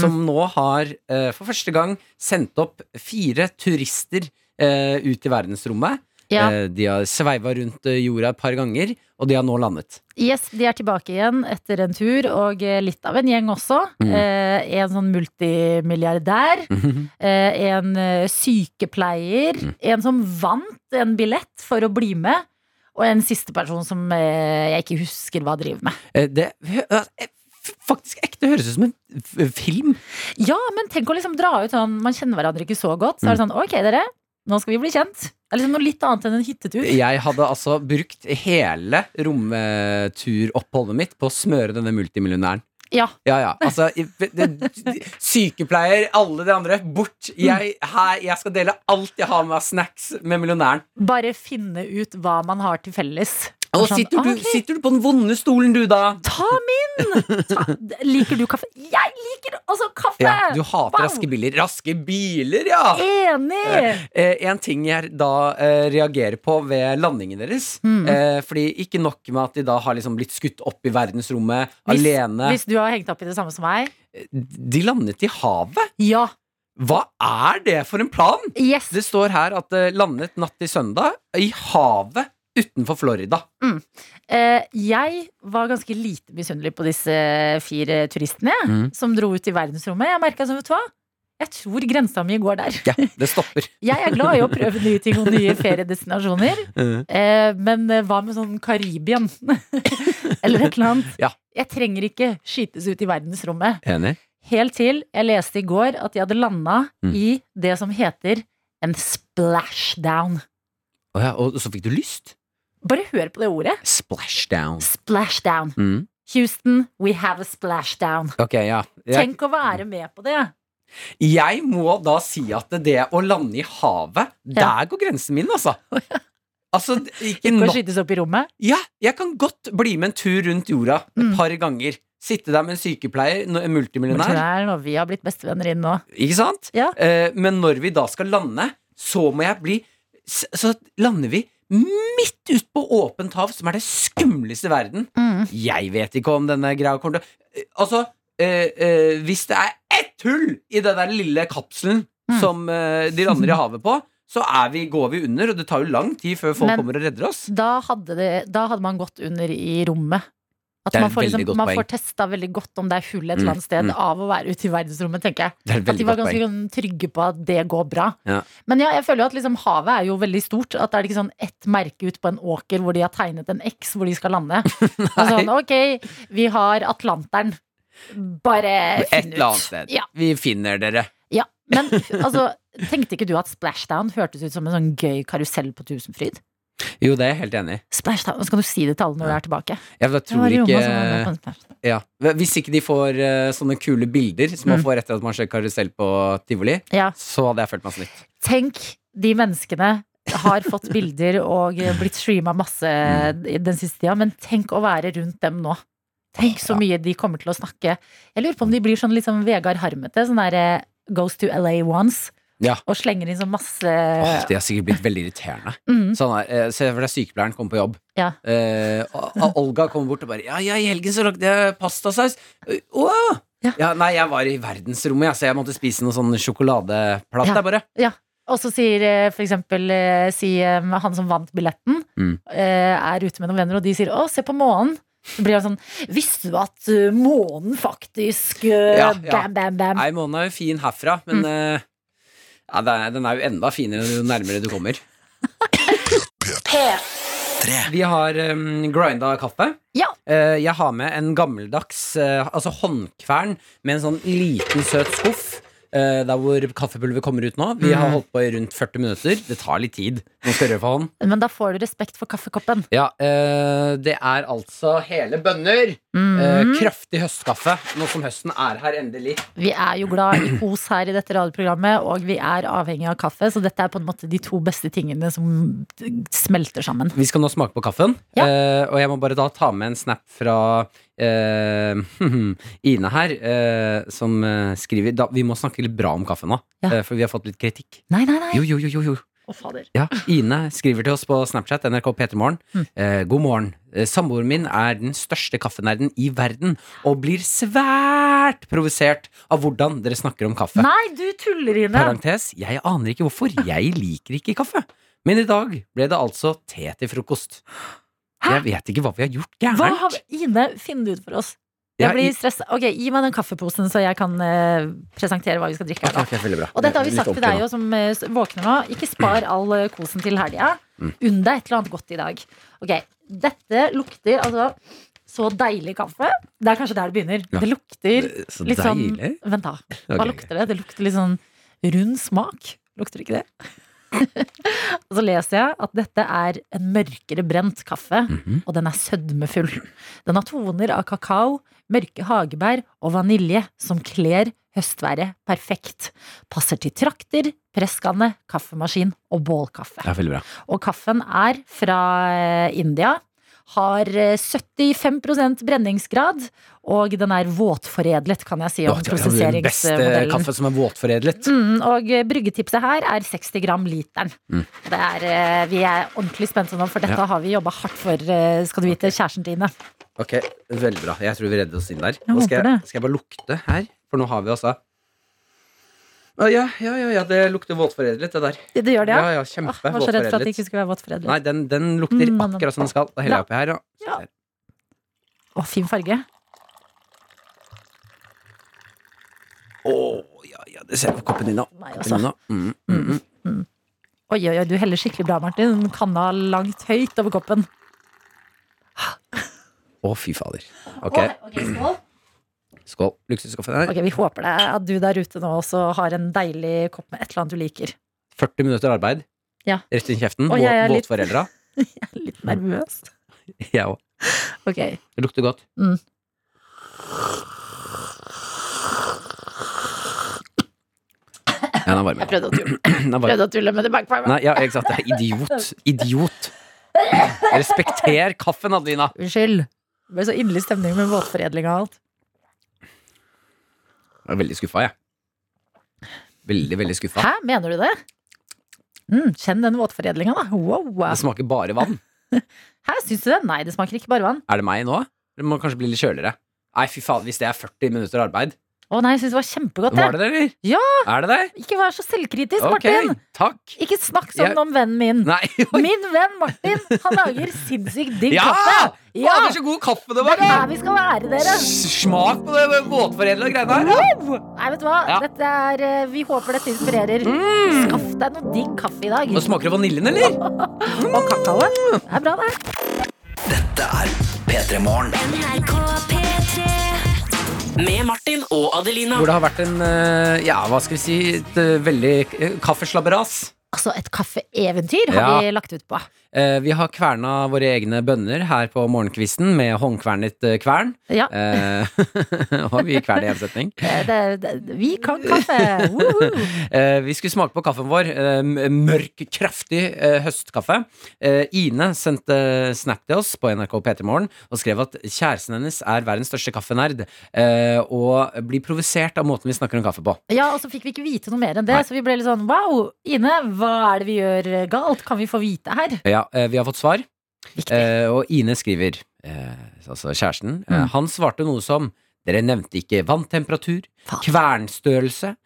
C: som nå har eh, for første gang sendt opp fire turister eh, ut i verdensrommet.
B: ja.
C: Eh, de har sveiva rundt eh, jorda et par ganger, og de har nå landet.
B: Yes, de er tilbake igjen etter en tur, og eh, litt av en gjeng også.
C: Mm.
B: Eh, en sånn multimilliardær.
C: Mhm.
B: eh, en eh, sykepleier.
C: Mm.
B: En som vant en billett for å bli med. Og en siste person som eh, jeg ikke husker hva driver med.
C: Eh, det hø- eh, f- faktisk ekte høres ut som en f- film.
B: Ja, men tenk å liksom dra ut sånn Man kjenner hverandre ikke så godt. Så
C: Mm.
B: er det sånn, ok dere, nå skal vi bli kjent. Det er liksom noe litt annet enn en hyttetur.
C: Jeg hadde altså brukt hele romturoppholdet mitt på å smøre denne multimillionæren.
B: Ja,
C: Ja, ja. Altså, i- det- sykepleier, alle de andre, bort. Jeg, her, jeg skal dele alt jeg har med av snacks med millionæren.
B: Bare finne ut hva man har til felles.
C: Og
B: Sånn,
C: sitter du,
B: ok.
C: sitter du på den vonde stolen, du, da?
B: Ta min! Ta, liker du kaffe? Jeg liker også kaffe!
C: Ja, du hater
B: Wow.
C: raske biler. Raske biler, ja!
B: Enig!
C: Eh, en ting jeg da eh, reagerer på ved landingen deres eh, Fordi ikke nok med at de da har liksom blitt skutt opp i verdensrommet
B: Hvis,
C: alene.
B: hvis du har hengt opp i det samme som meg.
C: De landet i havet!
B: Ja.
C: Hva er det for en plan?!
B: Yes.
C: Det står her at det landet natt til søndag i havet utenfor Florida.
B: Eh, jeg var ganske lite misunnelig på disse fire turistene jeg,
C: Mm.
B: som dro ut i verdensrommet. Jeg merka som, vet du hva? Jeg tror grensa mi går der.
C: Ja, det stopper.
B: Jeg er glad i å prøve nye ting og nye feriedestinasjoner.
C: Mm.
B: Eh, men eh, hva med sånn Karibien? Eller et eller annet.
C: Ja.
B: Jeg trenger ikke skytes ut i verdensrommet.
C: Enig.
B: Helt til jeg leste i går at de hadde landa
C: Mm.
B: i det som heter en splashdown.
C: Å ja, og så fikk du lyst?
B: Bare hør på det ordet.
C: Splashdown.
B: Splashdown.
C: Mm.
B: Houston, we have a splashdown.
C: Ok, ja. Jeg,
B: Tenk å være med på det.
C: jeg må da si at det å lande i havet,
B: Ja.
C: der går grensen min, altså. Altså, ikke
B: Ikke å
C: nok
B: skytes opp i rommet.
C: Ja, jeg kan godt bli med en tur rundt jorda et
B: Mm.
C: par ganger. Sitte der med en sykepleier, no- en
B: Morten
C: multimillionær.
B: er nå- Vi har blitt bestevenner inn nå.
C: Ikke sant?
B: Ja.
C: Eh, men når vi da skal lande, så må jeg bli s- Så lander vi midt ut på åpent hav, som er det skumleste i verden.
B: Mm.
C: Jeg vet ikke om denne greia kommer til å Eh, Altså, eh, eh, hvis det er ett hull i den der lille kapselen
B: Mm.
C: som eh, de lander i havet på, så er vi, går vi under, og det tar jo lang tid før folk
B: Men-
C: kommer og redder oss.
B: Da, hadde det, da hadde man gått under i rommet. At
C: Det er
B: man
C: et
B: får,
C: veldig
B: liksom,
C: godt
B: man
C: poeng.
B: får testa veldig godt om det er hull et
C: Mm,
B: eller annet sted
C: mm.
B: av å være ute i verdensrommet, tenker jeg.
C: Det er et
B: At de
C: veldig
B: var
C: godt
B: ganske
C: poeng.
B: sånn trygge på at det går bra.
C: Ja.
B: Men ja, jeg føler jo at liksom havet er jo veldig stort. At det er ikke sånn ett merke ut på en åker hvor de har tegnet en X hvor de skal lande. Og sånn, ok, vi har Atlanteren. Bare
C: Et
B: finn ut.
C: eller annet sted.
B: Ja.
C: Vi finner dere.
B: ja. Men altså, tenkte ikke du at Splashdown hørtes ut som en sånn gøy karusell på Tusenfryd?
C: Jo, det er jeg helt enig i.
B: Splashdown, Nå skal du si det til alle når du er tilbake.
C: Jeg
B: Det
C: tror
B: var Jonna
C: ikke
B: som var med på en Splashdown.
C: ja. Hvis ikke de får eh, sånne kule bilder som man
B: Mm.
C: får etter at man ser karusell på tivoli,
B: Ja.
C: så hadde jeg følt meg snytt.
B: Tenk de menneskene har fått bilder og blitt streama masse i den siste tida, men tenk å være rundt dem nå. Tenk så mye de kommer til å snakke. Jeg lurer på om de blir sånn litt sånn Vegard Harmete, sånn derre Goes to LA once,
C: Ja.
B: og slenger inn sånn masse
C: Åh, det har sikkert blitt veldig irriterende.
B: Mm.
C: Sånn her, eh, Se for deg sykepleieren kommer på jobb.
B: Ja.
C: Eh, og- og Olga kommer bort og bare 'Ja, ja i helgen så lagde jeg pastasaus.' Eh, Å!
B: Ja.
C: Ja. nei, jeg var i verdensrommet, jeg, så jeg måtte spise noe sånn sjokoladeplatt
B: Ja.
C: der, bare.
B: Og så sier eh, for eksempel eh, si, eh, han som vant billetten,
C: Mm.
B: eh, er ute med noen venner, og de sier 'Å, se på månen'. Så blir han sånn 'Visste du at eh, månen faktisk eh,
C: Ja, ja.
B: Bam, bam, bam.
C: Nei, månen er jo fin herfra,
B: Mm.
C: men eh, ja, det er, den er jo enda finere jo nærmere du kommer. Vi har um, grinda kaffe.
B: Ja.
C: Eh, jeg har med en gammeldags eh, altså håndkvern med en sånn liten, søt skuff. eh, der hvor kaffepulver kommer ut nå. Vi har holdt på i rundt 40 minutter. Det tar litt tid. Nå skal jeg røre for hånd.
B: Men da får du respekt for kaffekoppen.
C: Ja, eh, det er altså hele bønner. eh, kraftig høstkaffe, nå som høsten er her endelig.
B: Vi er jo glad i kos her i dette radioprogrammet, og vi er avhengig av kaffe, så dette er på en måte de to beste tingene som smelter sammen.
C: Vi skal nå smake på kaffen,
B: Ja.
C: eh, og jeg må bare da ta med en snap fra eh, Ine her, eh, som eh, skriver da, Vi må snakke litt bra om kaffe nå,
B: Ja.
C: eh, for vi har fått litt kritikk.
B: Nei, nei, nei.
C: Jo, jo, jo, jo, jo.
B: Å, fader.
C: Ja, Ine skriver til oss på Snapchat NRK Petermorgen.
B: Mm.
C: Eh, god morgen. Eh, Samboeren min er den største kaffenerden i verden og blir svært provosert av hvordan dere snakker om kaffe.
B: Nei, du tuller, Ine.
C: Parentes, jeg aner ikke hvorfor. Jeg liker ikke kaffe. Men i dag ble det altså te til frokost. Jeg vet ikke hva vi har gjort
B: Hva har
C: gærent.
B: vi- Ine, finn det ut for oss.
C: Ja,
B: Jeg
C: i-
B: blir stressa. Ok, gi meg den kaffeposen, så jeg kan eh, presentere hva vi skal drikke her.
C: Ok,
B: da.
C: ok, veldig bra.
B: Og dette har vi
C: Litt
B: sagt til
C: ordentlig
B: deg
C: nå.
B: jo som eh, s- våkner nå. Ikke spar all eh, kosen til helga.
C: Mm.
B: Unn deg et eller annet godt i dag. Ok, Dette lukter altså så deilig kaffe. Det er kanskje der det begynner.
C: Ja.
B: Det lukter
C: Det- Så
B: litt sånn
C: deilig.
B: Vent, da.
C: Ok,
B: Hva
C: ok.
B: lukter det? Det lukter litt sånn rund smak. Lukter det ikke det? Og så leser jeg at dette er en mørkere brent kaffe,
C: Mhm.
B: og den er sødmefull. Den har toner av kakao, mørke hagebær og vanilje som kler høstværet perfekt. Passer til trakter, presskanne, kaffemaskin og bålkaffe.
C: Ja, veldig bra.
B: Og kaffen er fra eh, India. har eh, 75 brenningsgrad, og den er våtforedlet, kan jeg si om
C: Den beste
B: prosesseringsmodellen.
C: kaffe som er våtforedlet.
B: Mm, og eh, bryggetipset her er 60 gram literen. Det er, eh, vi er ordentlig spente nå, for dette har vi jobba hardt for, eh, skal du vite, kjæresten dine.
C: Ok, Veldig bra. Jeg tror vi redder oss inn der.
B: Jeg
C: Nå skal,
B: håper
C: jeg,
B: det.
C: skal jeg bare lukte her, for nå har vi altså Å, ja, ja, ja, ja, det lukter våtforedlet, det der.
B: Det, det gjør det,
C: Ja,
B: ja?
C: ja,
B: Åh,
C: kjempe
B: jeg var så redd for at det ikke
C: våtforedlet.
B: skulle være våtforedlet.
C: Nei, den, den lukter
B: Mm, men-
C: akkurat som den skal. Da heller jeg oppi her, ja.
B: Ja. Å, fin farge.
C: Å, ja, ja, det ser jeg på koppen din nå.
B: Nei,
C: Koppen din
B: altså.
C: nå. Mm, mm, mm.
B: Oi, oi, oi, du heller skikkelig bra, Martin. Den Kanna langt høyt over koppen.
C: Å, fy fader. Ok, skål. Luksuskaffen her.
B: Ok, Vi håper det at du der ute nå også har en deilig kopp med et eller annet du liker.
C: 40 minutter arbeid.
B: Ja.
C: Rett inn i kjeften.
B: Å,
C: Vå-
B: jeg er litt-
C: Våtforeldra.
B: Litt nervøs.
C: Jeg òg.
B: Ok.
C: Det lukter godt.
B: Mm.
C: Ja, den er varm.
B: Prøvde å tulle,
C: Den er varm.
B: prøvde å tulle med det backfire.
C: Nei, ja, ikke sant. Det er Idiot. Idiot. Respekter kaffen, Adelina.
B: Unnskyld. Det ble så inderlig stemning med våtforedling og alt.
C: Jeg er veldig skuffa, jeg. Veldig, veldig skuffa.
B: Hæ, mener du det? Mm, kjenn den våtforedlinga, da. Wow.
C: Det smaker bare vann.
B: Hæ, syns du det? Nei, det smaker ikke bare vann.
C: Er det meg nå? Det må kanskje bli litt kjøligere. Nei, fy faen, hvis det er 40 minutter arbeid
B: Å nei, jeg syns det var kjempegodt.
C: Var
B: Det.
C: det det, eller?
B: Ja.
C: Er det det?
B: Ikke vær så selvkritisk,
C: Ok,
B: Martin!
C: takk.
B: Ikke snakk sånn
C: Jeg-
B: om vennen min.
C: Nei, oi.
B: Min venn Martin, han lager sinnssykt digg
C: Ja!
B: kaffe! Ja!
C: Fader, så god kaffe det
B: Det
C: var!
B: er der vi skal være, dere.
C: Smak på det våtforedla greiene her.
B: Nei, vet du hva?
C: Ja. Mm.
B: Dette er, eh, vi håper dette inspirerer. Skaff deg noe digg kaffe i dag.
C: Nå smaker det vaniljen, eller?
B: Og kakao. Det er bra, det.
F: NRK P3 Med Martin og Adelina
C: Hvor det har vært en, eh, ja, hva skal vi si, et eh, veldig eh, kaffeslabberas.
B: Altså, et kaffeeventyr har
C: Ja.
B: vi lagt ut på.
C: Eh, Vi har kverna våre egne bønner her på morgenkvisten med håndkvernet eh, kvern.
B: Ja,
C: Eh, og vi kverner i en setning.
B: det, det, vi kan kaffe. Woohoo.
C: Eh, vi skulle smake på kaffen vår. eh, m- mørk, kraftig eh, høstkaffe. Eh, Ine sendte snap til oss på NRK P3 Morgen og skrev at kjæresten hennes er verdens største kaffenerd, eh, og blir provosert av måten vi snakker om kaffe på.
B: Ja, og så fikk vi ikke vite noe mer enn det,
C: Nei.
B: så vi ble litt sånn wow, Ine, hva er det vi gjør galt? Kan vi få vite her?
C: Ja, eh, vi har fått svar,
B: Viktig.
C: eh, og Ine skriver, eh, altså kjæresten,
B: Mm.
C: eh, han svarte noe som dere nevnte ikke vanntemperatur,
B: Faen.
C: kvernstørrelse,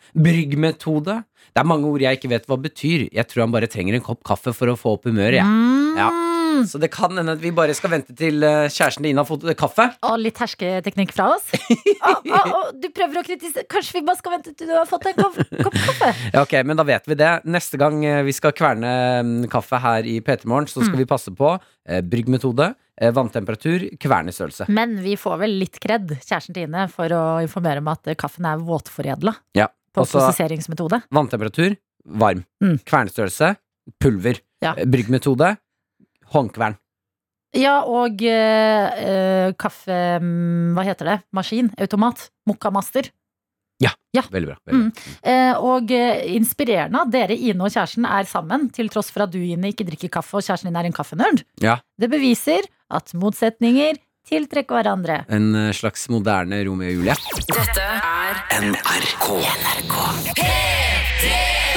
C: bryggmetode. Det er mange ord jeg ikke vet hva betyr. Jeg tror han bare trenger en kopp kaffe for å få opp humøret. jeg.
B: Mm.
C: Så det kan hende at vi bare skal vente til eh, kjæresten din har fått eh, kaffe.
B: Og litt hersketeknikk fra oss. Å, å, å, du prøver å kritisere Kanskje vi bare skal vente til du har fått en kopp, kopp kaffe?
C: Ja, ok, men da vet vi det. Neste gang eh, vi skal kverne mm, kaffe her i PT Morgen, så
B: Mm.
C: skal vi passe på eh, bryggmetode, eh, vanntemperatur, kvernestørrelse.
B: Men vi får vel litt kred, kjæresten til Ine, for å informere om at kaffen er våtforedla
C: Ja.
B: på
C: Og så
B: prosesseringsmetode.
C: vanntemperatur, varm.
B: Mm.
C: Kvernestørrelse, pulver.
B: Ja.
C: Eh, Bryggmetode, håndkvern.
B: Ja, og eh, eh, kaffe... mm, Hva heter det? Maskin? Automat? Mokkamaster?
C: Veldig bra. Veldig. bra.
B: Eh, og eh, inspirerende at dere, Ine og kjæresten, er sammen, til tross for at du, Ine, ikke drikker kaffe, og kjæresten din er en kaffenerd.
C: Ja.
B: Det beviser at motsetninger tiltrekker hverandre.
C: En eh, slags moderne Romeo og Julie.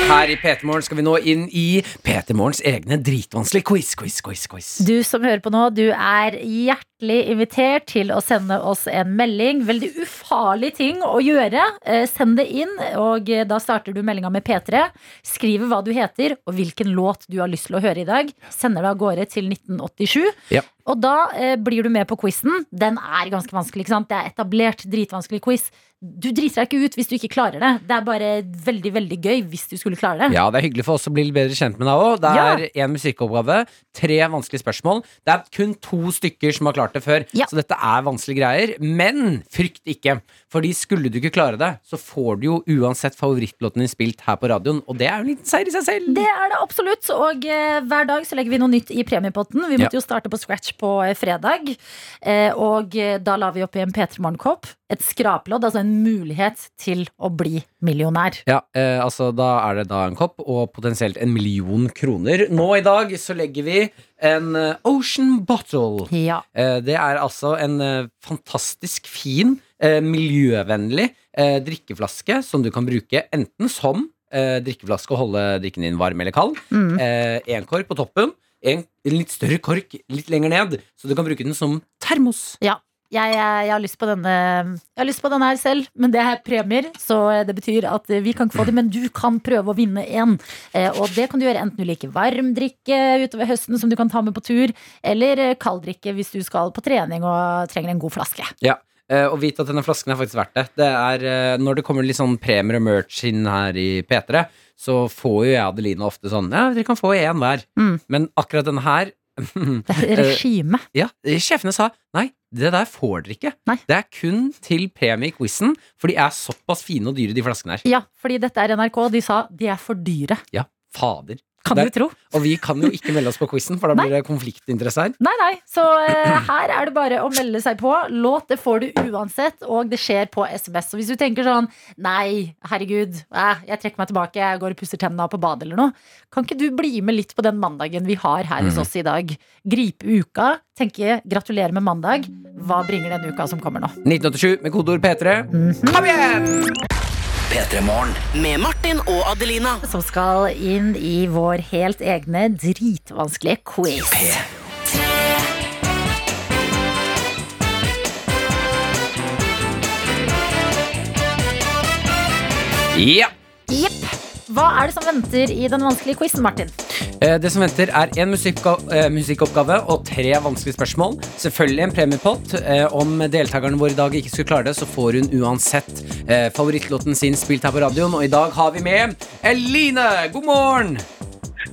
C: Her i PT Morgen skal vi nå inn i PT Morgens egne dritvanskelige quiz, quiz, quiz. quiz.
B: Du som hører på nå, du er hjertelig invitert til å sende oss en melding. Veldig ufarlig ting å gjøre. Eh, send det inn, og eh, da starter du meldinga med P3. Skriver hva du heter og hvilken låt du har lyst til å høre i dag. Sender det av gårde til 1987.
C: Ja.
B: Og da eh, blir du med på quizen. Den er ganske vanskelig, ikke sant? Det er etablert dritvanskelig quiz. Du driter deg ikke ut hvis du ikke klarer det. Det er bare veldig, veldig gøy hvis du skulle klare det.
C: Ja, det er hyggelig for oss å bli litt bedre kjent med deg òg. Det er én musikkoppgave, tre vanskelige spørsmål. Det er kun to stykker som har klart det før,
B: Ja.
C: så dette er vanskelige greier. Men frykt ikke, fordi skulle du ikke klare det, så får du jo uansett favorittlåten din spilt her på radioen, og det er jo en liten seier i seg selv.
B: Det er det absolutt. Og eh, hver dag så legger vi noe nytt i premiepotten. Vi
C: Ja.
B: måtte jo starte på scratch på eh, fredag. Eh, og eh, da la vi opp i en P3 Morgenkopp. et skraplodd, altså en mulighet til å bli millionær.
C: Ja, eh, altså Da er det da en kopp og potensielt en million kroner. Nå i dag så legger vi en eh, Ocean Bottle.
B: Ja.
C: Eh, Det er altså en eh, fantastisk fin, eh, miljøvennlig eh, drikkeflaske som du kan bruke enten som eh, drikkeflaske og holde drikken din varm eller kald.
B: Mm.
C: Én kork på toppen, en en litt større kork litt lenger ned, så du kan bruke den som termos.
B: Jeg, eh, jeg, jeg har lyst på denne Jeg har lyst på denne her selv, men det er premier. Så eh, det betyr at vi kan ikke få det, men du kan prøve å vinne en. Eh, Og det kan du gjøre enten du liker varm drikke utover høsten som du kan ta med på tur, eller eh, kald drikke hvis du skal på trening og trenger en god flaske.
C: Eh, Og vit at denne flasken er faktisk verdt det. Det er, eh, Når det kommer litt sånn premier og merch inn her i P3, så får jo jeg og Adeline ofte sånn Ja, dere kan få én hver.
B: Mm.
C: Men akkurat denne her
B: Det er regime.
C: Ja, sjefene sa nei, det der får dere ikke.
B: Nei.
C: Det er kun til premie i quizen, for de er såpass fine og dyre, de flaskene her.
B: Ja, fordi dette er NRK. De sa de er for dyre.
C: Ja, fader.
B: Kan
C: Det-
B: du tro?
C: Og vi kan jo ikke melde oss på quizen, for da blir det konfliktinteresse her.
B: Nei, nei. Så eh, her er det bare å melde seg på. Låt det får du uansett, og det skjer på SMS. Så hvis du tenker sånn Nei, herregud, eh, jeg trekker meg tilbake, jeg går og pusser tennene på badet eller noe. Kan ikke du bli med litt på den mandagen vi har her hos oss i dag? Gripe uka, tenke gratulerer med mandag. Hva bringer den uka som kommer nå?
C: 1987 med kodeord P3.
B: Mm.
C: Kom igjen!
F: Med Martin og Adelina.
B: Som skal inn i vår helt egne dritvanskelige quiz.
C: Ja.
B: Jepp. Hva er det som venter i den vanskelige quizen, Martin?
C: Eh, Det som venter, er én musikkoppgave og tre vanskelige spørsmål. Selvfølgelig en premiepott. Eh, Om deltakerne våre i dag ikke skulle klare det, så får hun uansett eh, favorittlåten sin spilt her på radioen. Og i dag har vi med Eline. God morgen!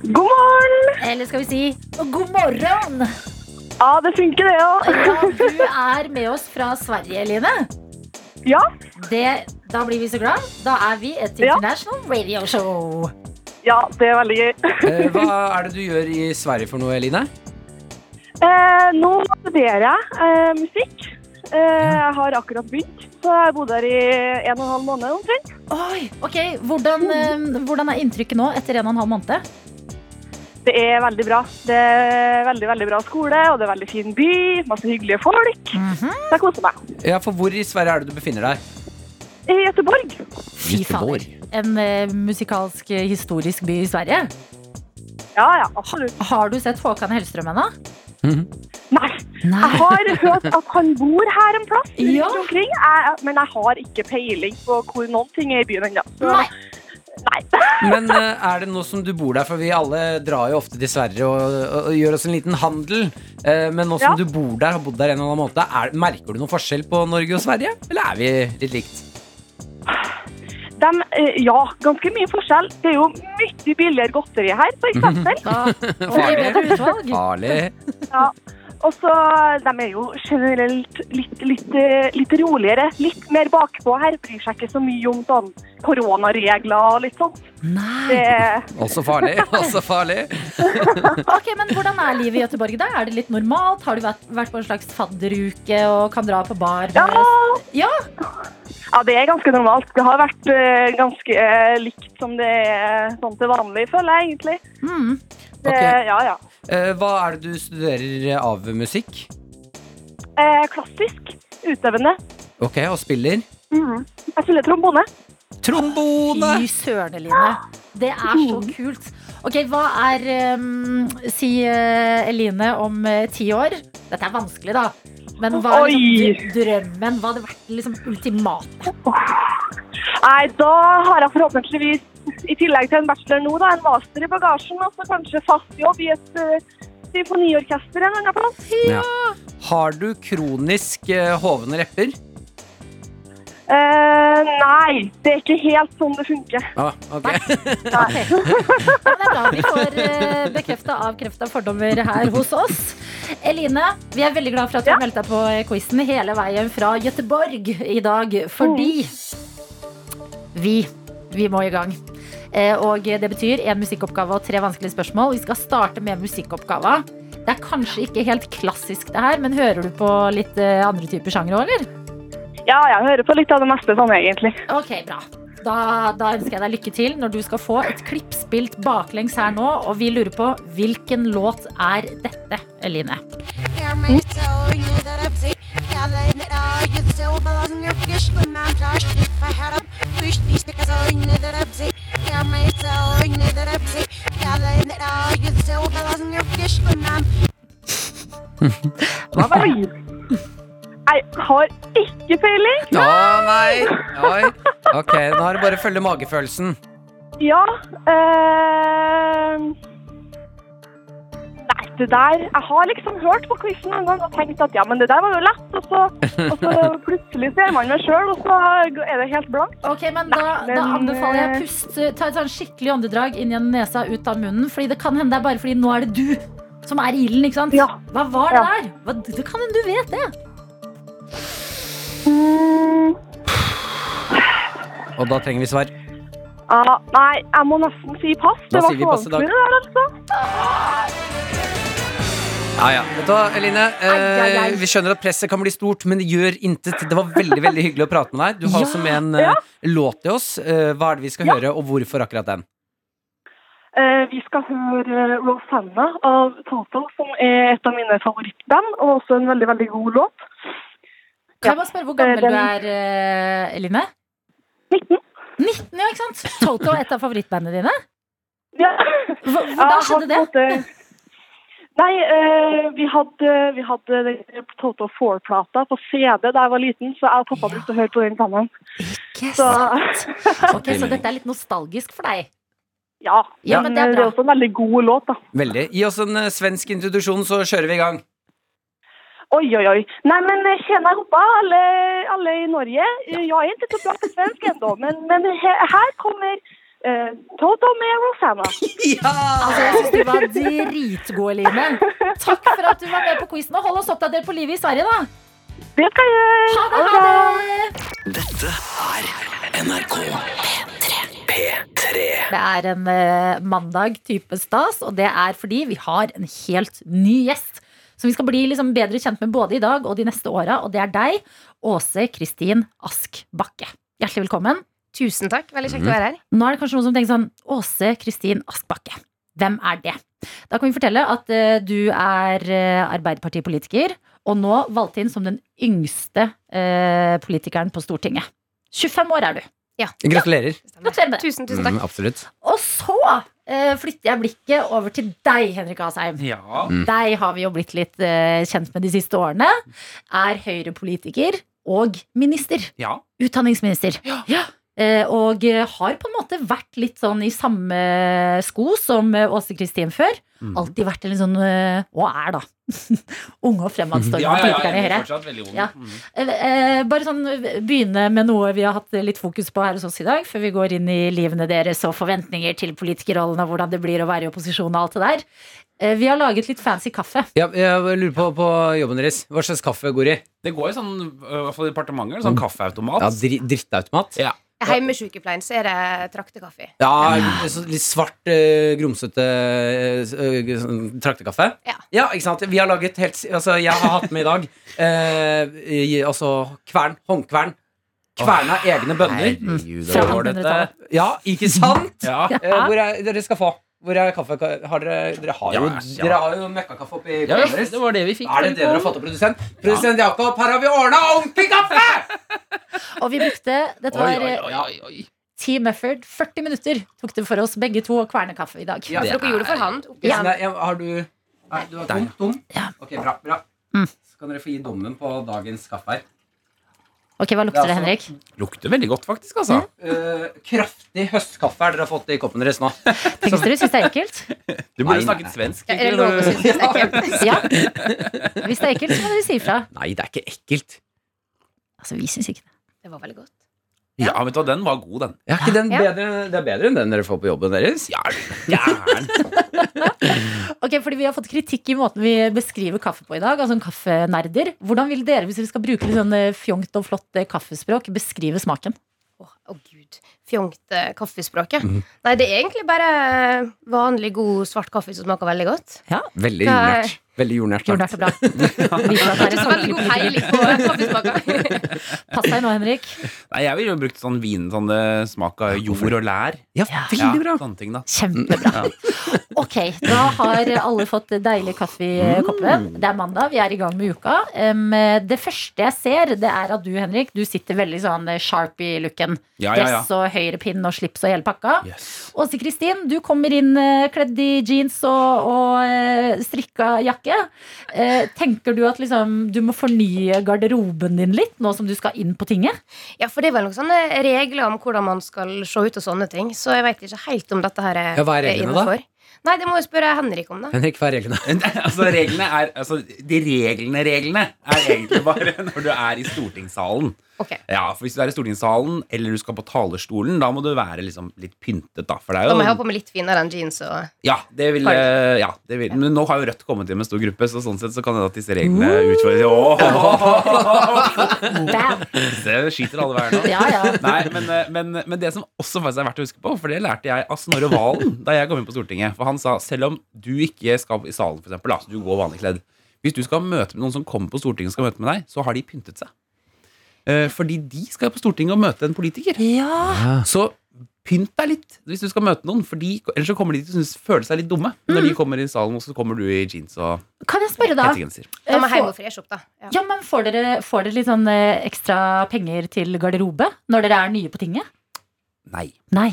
H: God morgen!
B: Eller skal vi si god morgen?
H: Ja, det funker det òg.
B: Ja, du er med oss fra Sverige, Eline.
H: Ja,
B: Det, da blir vi så glad. Da er vi et
H: Ja.
B: international radio show.
H: ja, det er veldig gøy.
C: Eh, Hva er det du gjør i Sverige for noe, Eline?
H: Eh, nå studerer jeg eh, musikk. Eh, jeg har akkurat begynt, så jeg har bodd her i en og en halv måned omtrent.
B: Oi, ok, hvordan,
H: Oh.
B: eh, hvordan er inntrykket nå etter en og en halv måned?
H: Det er veldig bra. Det er veldig, veldig bra skole, og det er veldig fin by. Masse hyggelige folk. Så jeg koser meg.
C: Ja, for hvor i Sverige er det du befinner deg?
H: I Göteborg.
B: Fy fader. En eh, musikalsk eh, historisk by i Sverige.
H: Ja, ja, absolutt.
B: Har du sett Håkan Hellstrøm ennå?
H: Nei, jeg har hørt at han bor her en plass rundt
B: Ja.
H: omkring, jeg, men jeg har ikke peiling på hvor noen ting er i byen ennå. Så
B: Nei.
H: nei.
C: Men eh, er det nå som du bor der, for vi alle drar jo ofte til Sverige og, og, og gjør oss en liten handel. Eh, Men nå som
H: Ja.
C: du bor der, har bodd der en eller annen måned, er, merker du noen forskjell på Norge og Sverige? Eller er vi litt likt?
H: Dem, eh, ja, ganske mye forskjell. Det er jo mye billigere godteri her, for
B: Mhm.
H: eksempel.
B: Da, og det ble et utvalg.
C: Farlig.
H: Ja. Og så de er jo generelt litt, litt, eh, litt roligere, litt mer bakpå her. Bryr seg ikke så mye om sånn koronaregler og litt sånt.
B: Nei.
H: Det,
C: Også farlig. Også farlig.
B: Ok, men Hvordan er livet i Göteborg da? Er det litt normalt? Har du vært, vært på en slags fadderuke og kan dra på bar?
H: ja.
B: Ja.
H: ja, det er ganske normalt. Det har vært eh, ganske eh, likt som det er sånn til vanlig, føler jeg egentlig.
B: Mm.
H: Det,
C: Ok.
H: Ja, ja.
C: Eh, Hva er det du studerer av musikk?
H: Eh, klassisk. Utøvende.
C: Ok, og spiller?
H: Mhm. Jeg spiller trombone.
C: Trombone!
B: Fy søren, Eline. Det er så kult. Ok, Hva er um, Si eh, Eline om eh, ti år. Dette er vanskelig, da. Men hva er liksom, dr- drømmen? Hva hadde vært liksom, ultimat?
H: Nei, da har jeg forhåpentligvis, i tillegg til en bachelor nå, da, en master i bagasjen, og så kanskje fast jobb i et eh, symfoniorkester en annen plass.
C: Ja. Har du kronisk eh, hovne repper?
H: Eh, nei, det er ikke helt sånn det funker.
C: Ah, ok.
B: Ok. Ja, men det er bra vi får uh, bekrefta avkrefta fordommer her hos oss. Eline, vi er veldig glad for at du
H: Ja.
B: meldte deg på quizen hele veien fra Gøteborg i dag, fordi vi, vi må i gang. Eh, Og det betyr en musikkoppgave og tre vanskelige spørsmål. Vi skal starte med musikkoppgava. Det er kanskje ikke helt klassisk det her, men hører du på litt eh, andre typer sjanger òg, eller?
H: Ja, jeg hører på litt av det meste sånn, egentlig.
B: Ok, bra. Da, da ønsker jeg deg lykke til når du skal få et klipp spilt baklengs her nå. Og vi lurer på hvilken låt er dette, Eline?
H: Oi. Jeg har ikke peiling.
C: Å nei! Oi. Ok, nå har du bare å følge magefølelsen.
H: Ja eh, Nei, det der Jeg har liksom hørt på quizen en gang og tenkt at ja, men det der var jo lett. Og så, og så plutselig ser man meg sjøl, og så er det helt blankt.
B: Ok, men da,
H: Nei,
B: da
H: men,
B: anbefaler jeg
H: eh,
B: pust. Ta et sånn skikkelig åndedrag inn gjennom nesa, ut av munnen. Fordi det kan hende det er bare fordi nå er det du som er i ilden, ikke sant?
H: Ja.
B: Hva var det
H: Ja.
B: der? Hva, det kan hende du vet det.
C: Og da trenger vi svar.
H: Ja, nei, jeg må nesten si pass.
C: Da
H: Det var
C: sier vi
H: så
C: pass i dag.
H: vanskelig, det der, altså.
C: Ja, ja. Vet du hva, Eline?
B: Ai, ai, ai.
C: Eh, vi skjønner at presset kan bli stort, men det gjør intet. Det var veldig veldig hyggelig å prate med deg. Du har
B: Ja.
C: også med en eh, låt til oss. Eh, hva er det vi skal høre, og hvorfor akkurat den?
H: Eh, vi skal høre eh, Rosanna av Toto, som er et av mine favorittband, og også en veldig, veldig god låt.
B: Kan
H: Ja.
B: jeg bare spørre hvor gammel
H: Eh, den-
B: du er, eh, Eline?
H: 19.
B: 19, ja, ikke sant? Toto, et av favorittbandene dine.
H: Ja.
B: Hva- Hvordan skjedde det?
H: Nei, eh, vi hadde, vi hadde den Toto 4-plata på CD da jeg var liten, så jeg og pappa brukte å høre på den sammen.
B: Ikke
H: Så
B: sant. Ok, Så dette er litt nostalgisk for deg.
H: ja,
B: Ja, men det er
H: eh,
B: bra.
H: også en veldig god låt, da.
C: Veldig. Gi oss en eh, svensk introduksjon, så kjører vi i gang.
H: Oj, oj, oj. Nej, men eh, tjena Europa, alla, alla i Norge. Jag är inte så bra på svenska ändå, men, men he- här kommer eh, Toto med Rosanna.
B: Altså, jeg synes du var dritgod, Eline. Takk for at du var med på quizen. Og hold oss oppdatert på livet i Sverige, da.
H: Det ska jag
B: Ha det! Ha det. Det er en eh, mandag type stas, og det er fordi vi har en helt ny gjest. Som vi skal bli liksom bedre kjent med både i dag og de neste åra. Og det er deg, Åse Kristin Ask Bakke. Hjertelig velkommen.
I: Tusen takk. Veldig kjekt å være her.
B: Nå er det kanskje noen som tenker sånn Åse Kristin Ask Bakke. Hvem er det? Da kan vi fortelle at eh, du er eh, Arbeiderpartipolitiker, og nå valgt inn som den yngste eh, politikeren på Stortinget. 25 år er du.
C: Gratulerer.
B: Gratulerer med det.
I: Tusen, tusen takk.
E: Mm, absolutt.
B: Og så eh, flytter jeg blikket over til deg, Henrik Asheim.
D: Ja.
B: Deg har vi jo blitt litt eh, kjent med de siste årene. Er Høyre-politiker og minister.
D: ja.
B: Utdanningsminister. Ja. Eh, og eh, har på en måte vært litt sånn i samme sko som eh, Åse Kristin før. Alltid vært en litt sånn eh, Og er, da. Unge og fremadstormende
D: Ja, ja,
B: politikere i
D: jeg er
B: Høyre.
D: fortsatt veldig ung.
B: Ja.
D: Mm.
B: Eh, eh, bare sånn eh, begynne med noe vi har hatt litt fokus på her hos oss i dag, før vi går inn i livene deres og forventninger til politikerrollen og hvordan det blir å være i opposisjon og alt det der. Eh, vi har laget litt fancy kaffe.
C: Ja, jeg lurer på, på jobben deres. Hva slags kaffe går i?
D: Det går jo sånn, øh, i hvert fall i departementet, sånn kaffeautomat.
C: Ja, dri Drittautomat?
D: Ja.
I: Hjemme i sykepleien så er det traktekaffe.
C: Ja, så litt svart, eh, grumsete eh, s- eh, sånn traktekaffe.
I: Ja.
C: ikke sant? Vi har laget helt s- Altså, jeg har hatt med i dag eh, i, Altså kvern. Håndkvern. Kverna egne bønner.
E: Herregud,
B: Fra
E: det var dette.
B: 1800-tallet.
C: Ja, ikke sant?
D: Ja.
C: Eh, hvor er, dere skal få. Hvor er kaffe... Har dere, dere har jo,
D: Ja, ja.
C: dere har jo møkkakaffe oppi
E: Ja,
C: kvelden
E: det
C: deres.
E: var det vi fikk.
C: Er det det dere har fått av produsent? Produsent Jakob, her har vi ordna ordentlig kaffe!
B: Og vi brukte Dette
E: Oi,
B: var
E: oi,
B: eh,
E: oi, oi, oi.
B: Team Effort. 40 minutter tok det for oss begge to å kverne kaffe i dag.
C: Ja.
I: Så dere gjorde det for hand. opp i
B: Ja.
C: Nei, jeg- har du Nei, du er tom? tom?
B: Ja.
C: Ok, bra. bra.
B: Mm.
C: Så kan dere få gi dommen på dagens kaffe her.
B: Ok, Hva lukter det,
C: Det er
B: Henrik?
D: Lukter veldig godt, faktisk. altså
C: Eh, kraftig høstkaffe er dere har fått i koppen deres nå.
B: Tenker dere syns det er ekkelt?
D: Du burde
C: Nei,
D: snakket svensk.
I: Ja, er det lov å synes det er ekkelt?
B: Ja. Hvis det er ekkelt, så må dere si ifra.
E: Nei, det er ikke ekkelt.
B: Altså, vi syns ikke det.
I: Det var veldig godt.
D: Ja, vet du hva, den var god, den.
C: Er ikke den
I: Ja.
C: bedre, det er bedre enn den dere får på jobben deres.
D: Ja, er du gæren.
B: Ok, fordi Vi har fått kritikk i måten vi beskriver kaffe på i dag. Altså en kaffenerder Hvordan vil dere, hvis dere skal bruke litt sånn eh, fjongt og flott eh, kaffespråk, beskrive smaken?
I: Åh, Å gud, fjongt eh, kaffespråket. Nei, det er egentlig bare eh, vanlig god svart kaffe som smaker veldig godt.
B: Ja,
C: Veldig
I: Nei.
C: jordnært. Veldig jordnært.
B: Jordnært
C: sagt.
B: og bra. Viser at det er
I: Ikke
B: en
I: så veldig god
B: folkelig
I: peiling på eh, kaffesmaker.
B: kultur. Pass deg nå, Henrik.
D: Nei, jeg ville jo brukt sånn vin, sånn eh, smak av jord og lær.
C: Ja,
B: Ja.
C: veldig bra.
D: sånne ting, da.
B: Kjempebra. Ok, da har alle fått deilig kaffe
D: Mm.
B: i koppen. Det er mandag, vi er i gang med uka. Um, det første jeg ser, det er at du, Henrik, du sitter veldig sånn sharpie-looken.
D: Ja, ja, ja.
B: Dress og høyrepinn og slips og hele pakka.
D: Yes.
B: Åse Kristin, du kommer inn eh, kledd i jeans og, og eh, strikka jakke. Eh, tenker du at liksom, du må fornye garderoben din litt nå som du skal inn på tinget?
I: Ja, for det er vel noen sånne regler om hvordan man skal se ut og sånne ting. Så jeg veit ikke helt om dette her er,
C: Ja, hva er reglene da?
I: innenfor. Nei, det må jeg spørre Henrik om, da.
C: Henrik, hva er reglene?
D: altså, reglene er, altså, de reglene, reglene er egentlig bare når du er i stortingssalen.
I: Ok.
D: Ja, for Hvis du er i stortingssalen eller du skal på talerstolen, da må du være liksom litt pyntet. da For det
I: Da må
D: er
I: jeg ha
D: jo
I: på meg litt finere enn jeans og
D: ja, det vil, eh, ja, det vil, Men nå har jo Rødt kommet inn med en stor gruppe, så sånn sett så kan det hende at disse reglene utfordres. Åh,
B: Bam!
D: det skyter alle veier nå.
B: Ja, ja.
D: Nei, men, eh, men, men det som også faktisk er verdt å huske på, for det lærte jeg av Snorre Valen da jeg kom inn på Stortinget. For han sa selv om du ikke skal i salen, for eksempel, da, så du går vanlig kledd Hvis du skal møte med noen som kommer på Stortinget og skal møte med deg, så har de pyntet seg. Eh, Fordi de skal på Stortinget og møte en politiker. Så pynt deg litt hvis du skal møte noen, for de, ellers så kommer de til å synes, føle seg litt dumme når de kommer i salen, og så kommer du i jeans og
B: Kan jeg spørre, da?
D: hettegenser.
I: Mm. Da må jeg
B: Eh,
I: hjem og freshe opp, da. Ja.
B: Ja, men får dere, får dere litt sånn eh, ekstra penger til garderobe når dere er nye på tinget?
D: Nei.
B: Nei.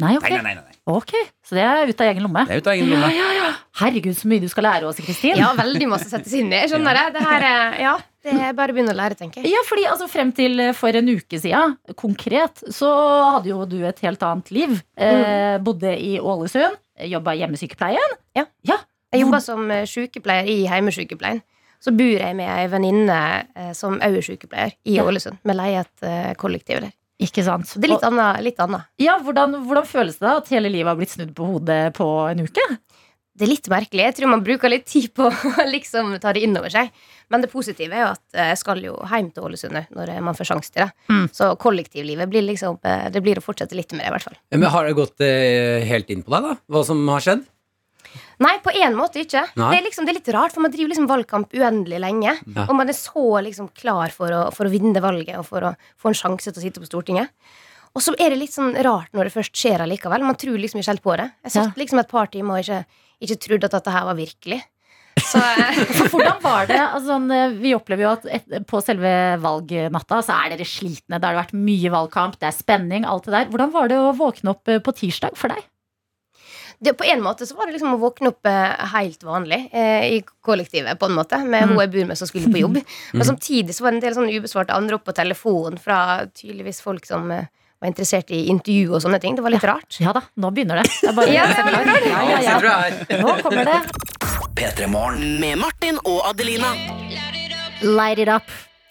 B: Nei, ok.
D: Nei, nei, nei, nei.
B: Ok, Så det er ut av egen lomme.
D: Det er ut av egen lomme.
B: Herregud, så mye du skal lære, Åse Kristin.
I: ja, veldig masse å sette seg inn i. Jeg skjønner det. Det her er, ja, det er bare å begynne å lære, tenker jeg.
B: Ja, fordi altså Frem til for en uke siden, konkret, så hadde jo du et helt annet liv. Eh,
D: Mm.
B: bodde i Ålesund, jobba i hjemmesykepleien.
I: Ja. Jeg jobber som eh, sykepleier i heimesykepleien. Så bor jeg med ei venninne eh, som òg er sykepleier i
B: Ja.
I: Ålesund. Vi leier et eh, kollektiv der.
B: Ikke sant?
I: Så det er litt annet. Litt annet.
B: Og, ja, hvordan, hvordan føles det da at hele livet har blitt snudd på hodet på en uke?
I: Det er litt merkelig. Jeg tror man bruker litt tid på å liksom ta det inn over seg. Men det positive er jo at eh, jeg skal jo hjem til Ålesund nå, når man får sjanse til det.
B: Mm.
I: Så kollektivlivet blir liksom eh, Det blir å fortsette litt med det, i hvert fall.
C: Men har det gått eh, helt inn på deg, da? Hva som har skjedd?
I: Nei, på en måte ikke.
C: Nei.
I: Det er, liksom, det er litt rart, for man driver liksom valgkamp uendelig lenge.
C: Ja.
I: Og man er så liksom klar for å, for å vinne valget og for å få en sjanse til å sitte på Stortinget. Og så er det litt sånn rart når det først skjer allikevel. Man tror liksom ikke helt på det. Jeg satt liksom et par timer og ikke, ikke trodde at dette her var virkelig. Så eh,
B: For hvordan var det? Altså, sånn, eh, vi opplever jo at et, på selve valgnatta så er dere slitne. Det har vært mye valgkamp, det er spenning, alt det der. Hvordan var det å våkne opp eh, på tirsdag for deg?
I: det, på en måte så var det liksom å våkne opp eh, helt vanlig eh, i kollektivet, på en måte, med hun jeg bor med som skulle på jobb. Men samtidig så var det en del sånne ubesvarte anrop på telefon fra tydeligvis folk som eh, var interessert i intervju og sånne ting. Det var litt rart.
B: Ja da, nå begynner det. det er bare,
I: Ja, det er veldig rart.
B: ja, ja, ja. Nå kommer det.
F: Med Martin og Adelina.
B: Light it up.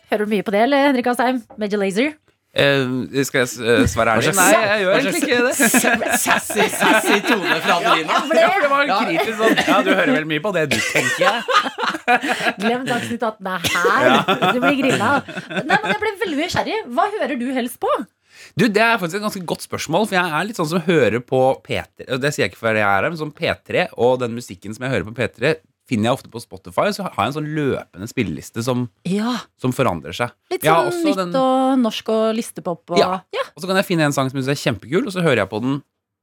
B: Hører du mye på det, eller, Henrik Asheim? Major Lazer?
D: Eh, skal jeg eh, svare ærlig? Nei, jeg gjør egentlig ikke det.
C: Sassy, sassy tone fra Adelina.
D: Ja, for det var en kritisk sånn Ja, du hører vel mye på det du tenker jeg.
B: Glem Dagsnytt 18. Det er her du blir grilla. Nei, men jeg ble veldig nysgjerrig. Hva hører du helst på?
D: Du, det er faktisk et ganske godt spørsmål For jeg er litt sånn som hører på P3 og Det sier jeg ikke for jeg er her, men som P3 Og den musikken som jeg hører på P3 Finner jeg ofte på Spotify Så har jeg en sånn løpende spilleliste som,
B: Ja,
D: som forandrer seg
B: Litt
D: Jeg har
B: sånn
D: også
B: nytt
D: den-
B: og norsk og listepop og
D: Ja. Og så kan jeg finne en sang som jeg synes er kjempekul Og så hører jeg på den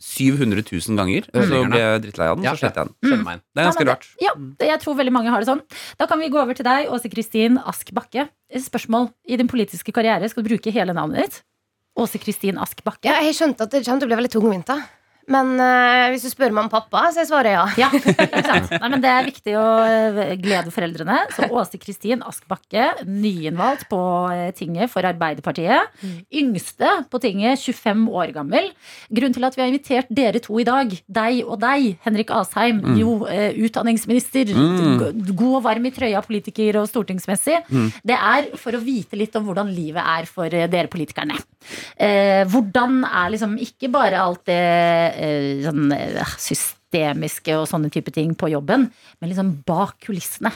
D: 700 000 ganger Og så
C: Ødeleggerne.
D: blir jeg drittlei av den,
C: Ja,
D: så sletter jeg den
C: Skjønner meg.
D: Det er ganske
B: Ja,
D: rart
B: Ja, det- jeg tror veldig mange har det sånn. Da kan vi gå over til deg, Åse Kristin Ask Bakke. Spørsmål. I din politiske karriere skal du bruke hele navnet ditt. Åse Kristin Ask Bakke.
I: Ja, jeg har skjønt at det kommer til å bli veldig tungvint, da. Men eh, hvis du spør meg om pappa, så jeg svarer ja.
B: Ja, ikke sant? Nei, men Det er viktig å eh, glede foreldrene. Så Åse Kristin Ask Bakke, nyinnvalgt på eh, tinget for Arbeiderpartiet. Mm. Yngste på tinget, 25 år gammel. Grunnen til at vi har invitert dere to i dag, deg og deg, Henrik Asheim, jo eh, utdanningsminister, g- god og varm i trøya politiker og stortingsmessig, det er for å vite litt om hvordan livet er for eh, dere politikerne. Eh, hvordan er liksom ikke bare alt det eh, sånn, eh, systemiske og sånne type ting på jobben, men liksom bak kulissene.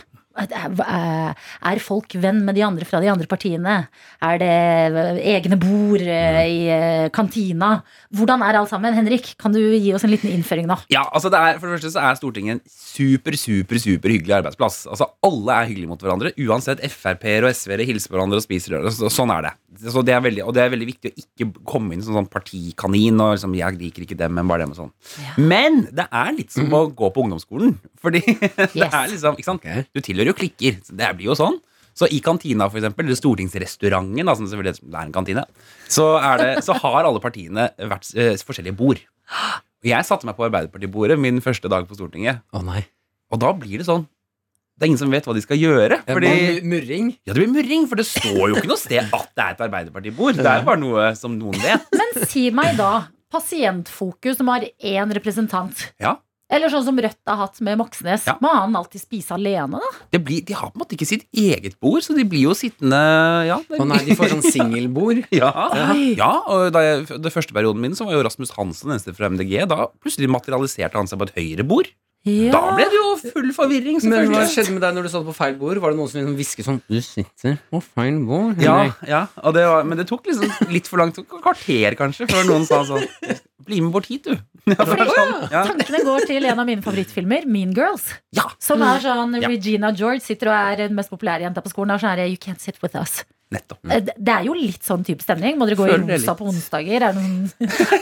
B: Er er folk venn med de andre fra de andre partiene? Er det egne bord eh, i eh, kantina? Hvordan er alt sammen? Henrik, kan du gi oss en liten innføring nå?
E: Ja, altså det er, For det første så er Stortinget en super, super, super hyggelig arbeidsplass. Altså Alle er hyggelige mot hverandre. Uansett Frp-er og SV-ere hilser på hverandre og spiser lørdag. Så, sånn er det. Så det er veldig, Og det er veldig viktig å ikke komme inn som sånn partikanin og liksom 'jeg liker ikke dem, men bare dem' og sånn. Men det er litt som å gå på ungdomsskolen. Fordi det
B: Yes.
E: er liksom, ikke sant? Du tilhører jo klikker. Så det blir jo sånn. Så i kantina, for eksempel, eller stortingsrestauranten, da, som selvfølgelig er en kantine, så, er det, så har alle partiene hvert, eh, forskjellige bord. Og Jeg satte meg på Arbeiderpartibordet min første dag på Stortinget,
J: Å nei.
E: og da blir det sånn. Det er ingen som vet hva de skal gjøre. Fordi,
C: Fordi Murring.
E: ja, Det blir murring, for det står jo ikke noe sted at det er et Arbeiderpartibord. Det er jo bare noe som noen vet.
B: Men si meg da, pasientfokus som har én representant.
E: Ja.
B: Eller sånn som Rødt har hatt med Moxnes.
E: Ja.
B: Må han alltid spise alene, da?
E: Det blir, de har på en måte ikke sitt eget bord, så de blir jo sittende Ja, det,
C: Å nei, de får sånn singelbord.
E: ja. ja og da jeg, det første perioden min så var jo Rasmus Hansen den eneste fra MDG. Da plutselig materialiserte han seg på et høyrebord. Da ble det jo full forvirring,
C: Men hva
E: selvfølgelig.
C: skjedde med deg når du satt på feil bord? Var det noen som liksom hvisket sånn Du sitter på feil bord.
E: Ja, ja og det var, men det tok liksom litt for langt kvarter, kanskje, før noen sa sånn Bli med bort hit, du. Ja, for det er sånn, ja.
B: Tankene går til en av mine favorittfilmer, Mean Girls.
E: Ja. Mm.
B: Som er sånn
E: Ja.
B: Regina George sitter og er den mest populære jenta på skolen. Og sånn er det, You can't sit with us.
E: Nettopp.
B: Eh, Det det er jo litt sånn type stemning. Må dere gå
E: Føler
B: i
E: det
B: rosa på onsdager? Er det noen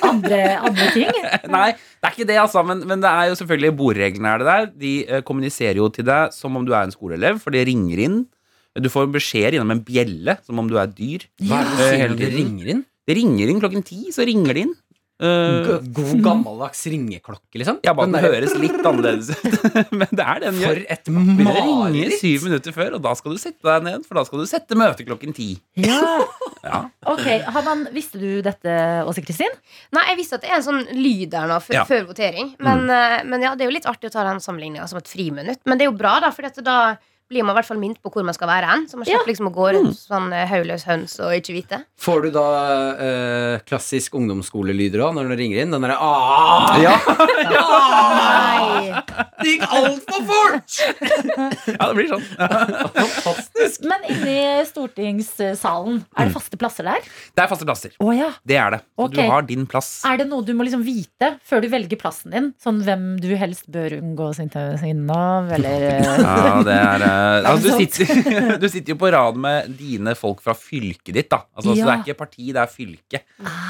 B: andre, andre ting?
E: Nei, det er ikke det, altså. Men, men det er jo selvfølgelig bordreglene er det der. De eh, kommuniserer jo til deg som om du er en skoleelev, for de ringer inn. Du får beskjeder gjennom en bjelle, som om du er et dyr.
C: Hva er det du
E: Eh,
C: sier
E: hele
C: når det
E: tiden.
C: ringer inn?
E: Det ringer inn klokken ti, så ringer de inn. Eh,
C: God gammeldags ringeklokke, liksom?
E: ja, bare
C: Den
E: den
C: der-
E: høres litt annerledes ut, men det er det den
C: For
E: gjør.
C: et
E: Det ringer
C: mareritt!
E: syv minutter før, og da skal du sette deg ned, for da skal du sette møte klokken ti.
B: Ja.
E: Ja.
B: Ok, Haman, visste du dette, Åse Kristin?
I: Nei, jeg visste at det er en sånn lyd der nå f
E: Ja. Mm.
I: før votering. Men, eh, men ja, det er jo litt artig å ta den sammenligninga som et friminutt. Men det er jo bra, da, for da blir man i hvert fall minnet på hvor man skal være hen. Så man slipper liksom å gå rundt sånn eh, hodeløs høns og ikke vite.
C: Får du da eh, klassisk ungdomsskolelyder òg når det ringer inn? Den derre ah,
E: Ja.
I: Nei.
C: Det gikk altfor fort!
E: Ja, det blir sånn.
C: Fantastisk.
B: Men inni stortingssalen,
E: Mm.
B: er det faste plasser der?
E: Det er faste plasser.
B: Å ja.
E: Det er det. Så
B: Ok.
E: Du har din plass.
B: Er det noe du må liksom vite før du velger plassen din? Sånn hvem du helst bør unngå sin sin av, eller eh,
E: Ja, det er eh, altså, du, sitter, du sitter jo på rad med dine folk fra fylket ditt, da. Altså, Så det
B: Ja.
E: er ikke parti, det er fylke.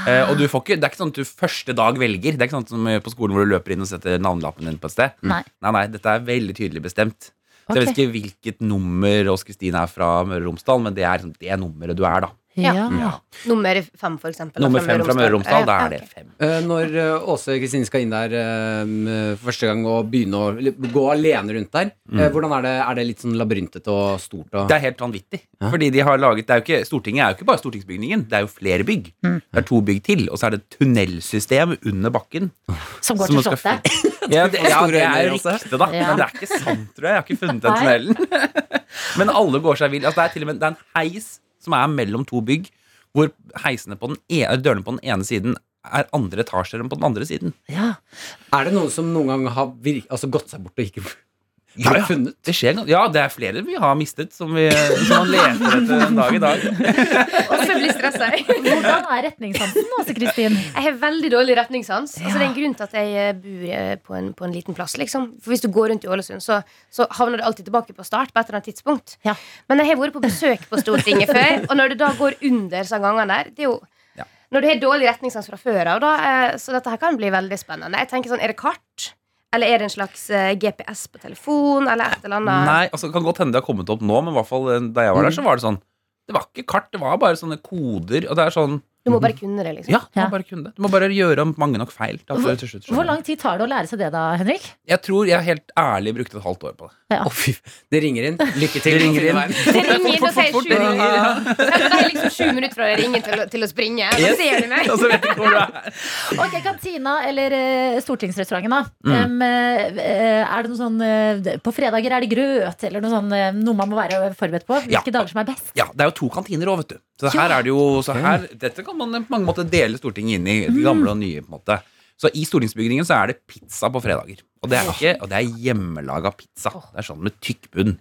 E: Eh, og du får ikke, det er ikke sånn at du første dag velger. Det er ikke sånn som på skolen hvor du løper inn og setter navnelappen din på et sted.
B: Nei.
E: Nei, nei, dette er veldig tydelig bestemt. Så jeg
B: Ok.
E: vet ikke hvilket nummer Ås Kristine er fra Møre og Romsdal, men det er liksom det nummeret du er, da.
B: Ja.
I: Nummer fem, for eksempel. da,
E: Nummer fem fra Møre og Romsdal, da er det
I: ok.
E: fem.
C: Eh, når eh, Åse Kristine skal inn der eh, for første gang og begynne å li- gå alene rundt der, eh, hvordan er det? Er det litt sånn labyrintete og stort? Og
E: Mm. Det er helt vanvittig. Fordi de har laget, det er jo ikke, Stortinget er jo ikke bare stortingsbygningen, det er jo flere bygg. Det er to bygg til, og så er det et tunnelsystem under bakken.
B: Som går
E: Som
B: til
E: man skal
B: Slottet?
E: Ja, det, ja,
C: store
E: det er
C: øyne,
E: jo
C: altså.
E: rykte, da.
B: Ja.
E: Men det er ikke sant, tror jeg. Jeg har ikke funnet den
B: Nei.
E: tunnelen. Men alle går seg vill. Altså, det er til og med det er en heis som er mellom to bygg, hvor heisene på den ene, dørene på den ene siden er andre etasjer enn på den andre siden.
B: Ja.
C: Er det noen som noen gang har virk, altså gått seg bort og ikke
E: Ja, ja.
C: funnet?
E: Det skjer gan- Ja, det er flere vi har mistet, som, vi, som man leter etter en dag i dag.
I: Og så blir stressa jeg.
B: Hvordan er retningssansen, Åse Kristin?
I: Jeg har veldig dårlig retningssans. Altså, det er en grunn til at jeg eh, bor eh, på en, på en liten plass. Liksom. For Hvis du går rundt i Ålesund, så, så havner du alltid tilbake på start. På et eller annet tidspunkt
B: Ja.
I: Men jeg har vært på besøk på Stortinget før, og når du da går under sånne gangene der Det er jo
E: Ja.
I: når du har dårlig retningssans fra før av, da, eh, så dette her kan bli veldig spennende. Jeg tenker sånn, Er det kart? Eller er det en slags eh, GPS på telefon? Eller et eller annet?
E: Nei, altså det kan godt hende det har kommet opp nå, men i hvert fall eh, da jeg var der,
C: Mm.
E: så var det sånn Det var ikke kart, det var bare sånne koder, og det er sånn
I: Du må bare kunne det, liksom.
E: Ja, du
B: Ja.
E: må bare kunne det. Du må bare gjøre mange nok feil. Da, får du til slutt skjønne.
B: Hvor lang tid tar det å lære seg det, da, Henrik?
E: Jeg tror jeg helt ærlig brukte et halvt år på det.
C: Å, fy. Det ringer inn. Lykke til.
E: Det ringer inn.
I: Det ringer inn og sier sju
E: det
I: minutter. Ja, men det er liksom sju minutter fra det ringer til, å- til å springe. Da ser du meg.
E: Og så Altså, vet du hvor du er.
B: Ok, Kantina eller eh, stortingsrestauranten, da.
E: Mm.
B: Em, eh, eh, er det noe sånn eh, På fredager er det grøt, eller noe sånn eh, Noe man må være forberedt på?
E: Ja.
B: Hvilke dager som er best?
E: Ja, det er jo to kantiner òg, vet du. Så her er det jo så her, Dette kan man på mange måter dele Stortinget inn i. Det gamle og nye, på en måte. Så i stortingsbygningen så er det pizza på fredager. Og det er, ikke, og det er hjemmelaga pizza. Det er sånn med tykk bunn.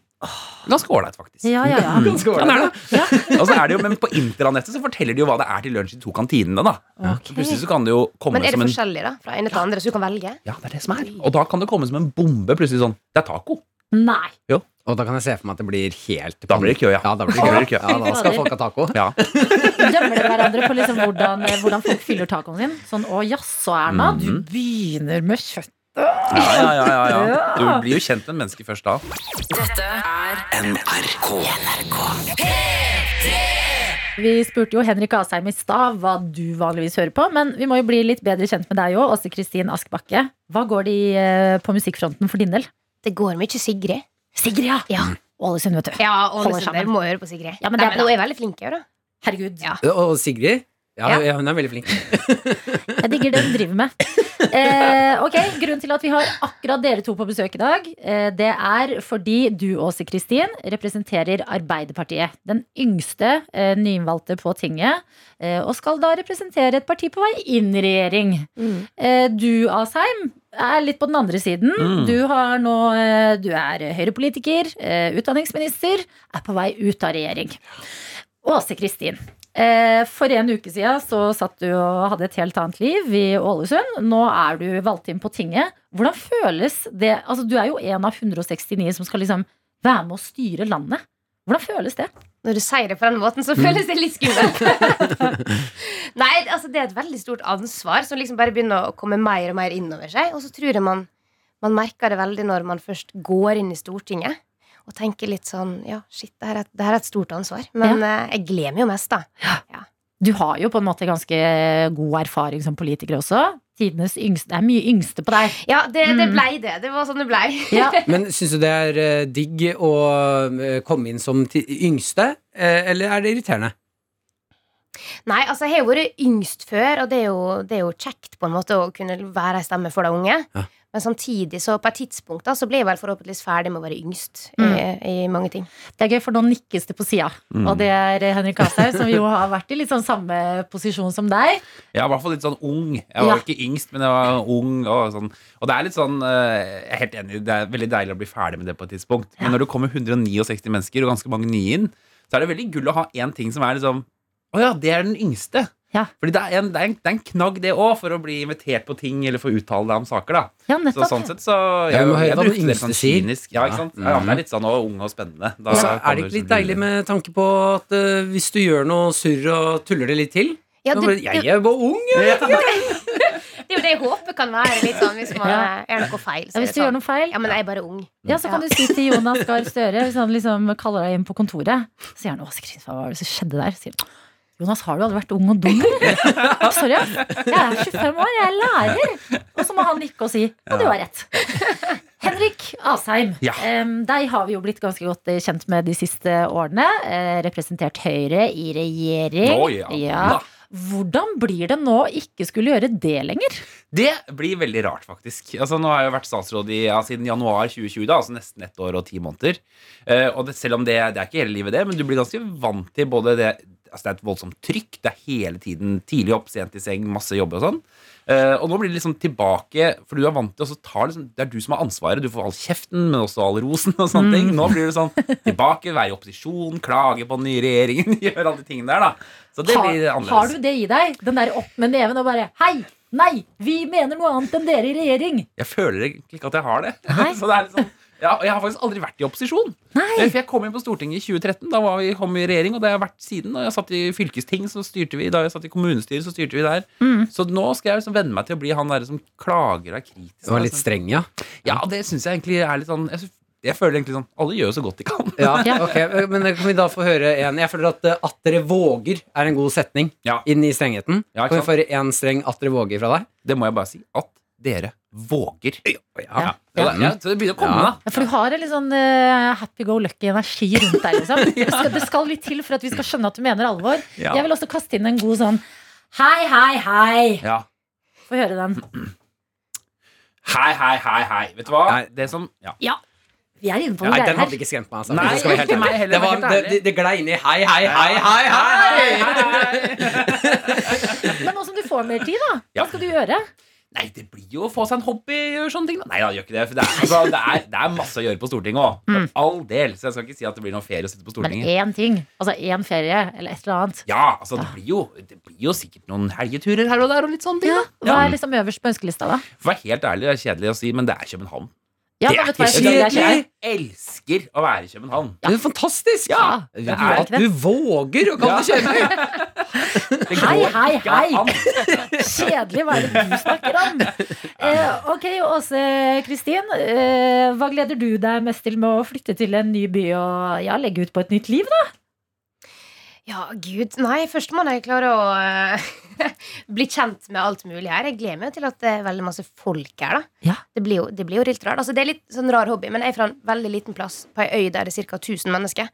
E: Ganske ålreit, faktisk.
B: Ja, ja, ja.
K: Ganske
E: Sånn
K: ålreit.
E: er det. Og så er det jo, men på intranettet så forteller de jo hva det er til lunsj i de to kantinene. da Så Plutselig så kan det jo komme
I: Men er det
E: som en
I: forskjellig da, fra ene til andre, så du kan velge?
E: Ja, det er det som er. Og da kan det komme som en bombe. Plutselig sånn Det er taco.
B: Nei.
C: Og da kan jeg se for meg at det blir helt
E: Da blir det kø, ja.
C: Ja, da blir
E: Da
C: det
E: blir det kø.
C: kø. Ja, da skal folk ha taco.
E: Ja.
B: Dømmer dere hverandre på liksom hvordan, hvordan folk fyller tacoen sin? Sånn 'Å jaså, Erna,
E: Mm.
B: du begynner med kjøtt'.
E: Ja, ja, ja, ja, ja. Du blir jo kjent med mennesker først da.
B: Vi spurte jo Henrik Asheim i stad hva du vanligvis hører på, men vi må jo bli litt bedre kjent med deg òg, Åse Kristin Askbakke. Hva går de eh, på musikkfronten for din del?
I: Det går mye Sigrid.
B: Sigrid, ja!
I: Ja,
B: Ålesund, vet du.
I: ja
B: Holder sammen.
I: Ålesund der må høre på Sigrid.
B: Ja, men
I: men,
B: det er
I: Nei, men
B: bra.
I: hun er veldig flink her, da.
B: Herregud.
I: Ja.
C: Og Sigrid? Ja,
I: Ja.
C: ja, hun er veldig flink.
B: Jeg digger det hun driver med. Eh, ok, Grunnen til at vi har akkurat dere to på besøk i dag, eh, det er fordi du, Åse Kristin, representerer Arbeiderpartiet. Den yngste eh, nyinnvalgte på tinget. Eh, og skal da representere et parti på vei inn i regjering. Eh, du, Asheim, er litt på den andre siden. Du, har nå, eh, du er Høyre-politiker, eh, utdanningsminister, er på vei ut av regjering. Åse Kristin. eh, For en uke siden så satt du og hadde et helt annet liv i Ålesund. Nå er du valgt inn på tinget. Hvordan føles det? Altså, du er jo en av 169 som skal liksom være med å styre landet. Hvordan føles det?
I: Når du sier det på den måten, så
E: Mm.
I: føles det litt skummelt. Nei, altså det er et veldig stort ansvar som liksom bare begynner å komme mer og mer innover seg. Og så tror jeg man, man merker det veldig når man først går inn i Stortinget. Og tenker litt sånn Ja, shit, det her er, det her er et stort ansvar. Men eh, jeg gleder meg jo mest, da.
B: Du har jo på en måte ganske god erfaring som politiker også. Tidenes yngste. Det er mye yngste på deg.
I: Ja, det, det
B: Mm.
I: blei det. Det var sånn det blei.
B: Ja.
C: Men syns du det er eh, digg å eh, komme inn som ti- yngste, eh, eller er det irriterende?
I: Nei, altså jeg har jo vært yngst før, og det er, jo, det er jo kjekt på en måte å kunne være ei stemme for de unge.
C: Ja.
I: Men samtidig, så på et tidspunkt da, så ble jeg vel forhåpentligvis ferdig med å være yngst eh,
B: Mm.
I: i, i mange ting.
B: Det er gøy, for nå nikkes det på sida.
E: Mm.
B: Og det er Henrik Ashaug, som jo har vært i litt sånn samme posisjon som deg.
E: Jeg var i hvert fall litt sånn ung. Jeg var
B: Ja.
E: ikke yngst, men jeg var ung. Og, sånn. og det er litt sånn eh, Jeg er helt enig, det er veldig deilig å bli ferdig med det på et tidspunkt. Men når det kommer 169 mennesker, og ganske mange nye inn, så er det veldig gull å ha én ting som er liksom Å ja, det er den yngste.
B: Ja.
E: Fordi det er en, det er en, det er en knagg, det òg, for å bli invitert på ting eller få uttale deg om saker, da.
B: Ja,
E: Så
B: nettopp.
E: sånn sett så
C: Ja, du må høre hva
E: brukte
C: den
E: det sånn
C: yngste sier.
E: kynisk. Ja, ikke sant? Ja, det er litt sånn å, ung og spennende. Da
C: Altså,
E: kommer
C: er det ikke
E: liksom-
C: litt deilig med tanke på at eh, hvis du gjør noe surr og tuller det litt til
I: Ja,
C: så
I: du-
C: bare, Jeg er bare ung, jeg!
I: Det er jo det jeg håper kan være litt sånn hvis man
B: Ja.
I: gjør noe feil.
B: Ja, hvis du gjør noe feil,
I: sånn. Ja, men jeg er bare ung.
B: Ja, så kan du si til Jonas Gahr Støre, hvis han liksom kaller deg inn på kontoret, så sier han 'Å, Kristin, hva var det som skjedde der?' sier han. Jonas, har du aldri vært ung og dum? eller?» Sorry, ass. jeg er 25 år, jeg er lærer. Og så må han nikke og si ja, du har rett. Henrik Asheim,
E: Ja.
B: em, deg har vi jo blitt ganske godt eh, kjent med de siste årene. Eh, representert Høyre i regjering.
E: Å, ja. Da.
B: Hvordan blir det nå å ikke skulle gjøre det lenger?
E: Det blir veldig rart, faktisk. Altså, nå har jeg jo vært statsråd i, ja, siden januar 2020, da, altså nesten ett år og ti måneder. Eh, og det, selv om det, det er ikke hele livet, det, men du blir ganske vant til både det Altså, det er et voldsomt trykk. Det er hele tiden tidlig opp, sent i seng, masse jobber og sånn. Eh, og nå blir det liksom tilbake, for du er vant til å så ta liksom, Det er du som har ansvaret. Du får all kjeften, men også all rosen og sånne ting. Nå blir det sånn tilbake, være i opposisjon, klage på den nye regjeringen, gjøre alle de tingene der, da. Så det blir
B: Har,
E: annerledes.
B: har du det i deg? Den der opp med neven og bare Hei! Nei! Vi mener noe annet enn dere i regjering!
E: Jeg føler ikke at jeg har det.
B: Nei.
E: så det er liksom, ja, og jeg har faktisk aldri vært i opposisjon. Eh,
B: Nei.
E: For jeg kom inn på Stortinget i 2013. Da var vi, kom vi i regjering, og det har jeg vært siden. Og jeg satt i fylkesting, så styrte vi. Da jeg satt i kommunestyret, så styrte vi der. Så nå skal jeg liksom venne meg til å bli han der som klager og er kritisk. Altså,
C: Du var litt streng, ja.
E: Ja, det syns jeg egentlig er litt sånn jeg, sy- jeg føler egentlig sånn Alle gjør jo så godt de kan.
C: ja ok, Men kan vi da få høre en Jeg føler at eh, 'at dere våger' er en god setning
E: Ja.
C: inn i strengheten.
E: Ja,
C: kan vi
E: ikke sant?
C: få høre én streng 'at dere våger' fra deg?
E: Det må jeg bare si. At dere våger. Ja, ja.
C: Ja.
E: så det begynner å komme,
C: Ja.
E: da.
B: Ja, For du har en litt sånn eh, happy go lucky energi rundt deg. Liksom. Det, skal, det skal litt til for at vi skal skjønne at du mener alvor.
E: Ja.
B: Jeg vil også kaste inn en god sånn Hei, hei, hei!
E: Ja.
B: Få høre den.
E: Hei, hei, hei, hei. Vet du hva?
C: Nei.
E: Det som ja.
B: Vi er inne på
C: Nei,
B: noe
C: den
B: greier
C: hadde
B: her.
C: ikke skremt meg. Altså.
E: Nei,
C: Det skal være helt
E: ikke meg
C: ærlig.
E: heller,
C: det, var,
E: helt
C: det,
E: ærlig.
C: det, det glei inn i 'hei, hei, hei, hei, hei'.
E: hei, hei.
B: Men nå som du får mer tid, da. Hva
E: Ja.
B: skal du gjøre?
E: Nei, det blir jo å få seg en hobby og sånne ting. da. Nei, da gjør ikke det. For det, er, altså, det, er, det er masse å gjøre på Stortinget òg.
B: Mm.
E: For all del. Så jeg skal ikke si at det blir noen ferie å sitte på
B: Men
E: Stortinget.
B: én ting. Altså én ferie eller et eller annet.
E: Ja, altså, det blir, jo, det blir jo sikkert noen helgeturer her og der og litt sånn, sånne ting.
B: Ja,
E: da.
B: hva er liksom øverst på ønskelista, da?
E: For å være helt ærlig, det er kjedelig å si, men det er København.
B: Ja,
E: det
B: men
E: er
B: vet du hva jeg
E: ikke
B: synes? Det er
E: kjedelig.
B: kjedelig.
E: Jeg elsker å være i København.
C: Det er fantastisk!
E: Ja,
C: Det
E: det
C: er,
E: er
C: at du våger å kalle det kjedelig!
E: det
B: Hei,
E: går
B: hei,
E: ikke
B: hei!
E: an.
B: Kjedelig, hva er det du snakker om? Eh, ok, Åse Kristin. Eh, hva gleder du deg mest til med å flytte til en ny by og ja, legge ut på et nytt liv, da?
I: Ja, gud, nei, først må jeg klare å eh, bli kjent med alt mulig her. Jeg gleder meg jo til at det er veldig masse folk her, da.
B: Ja.
I: Det, blir jo, det blir jo litt rart. Altså, det er litt sånn rar hobby, men jeg er fra en veldig liten plass på ei øy der det er ca. 1000 mennesker.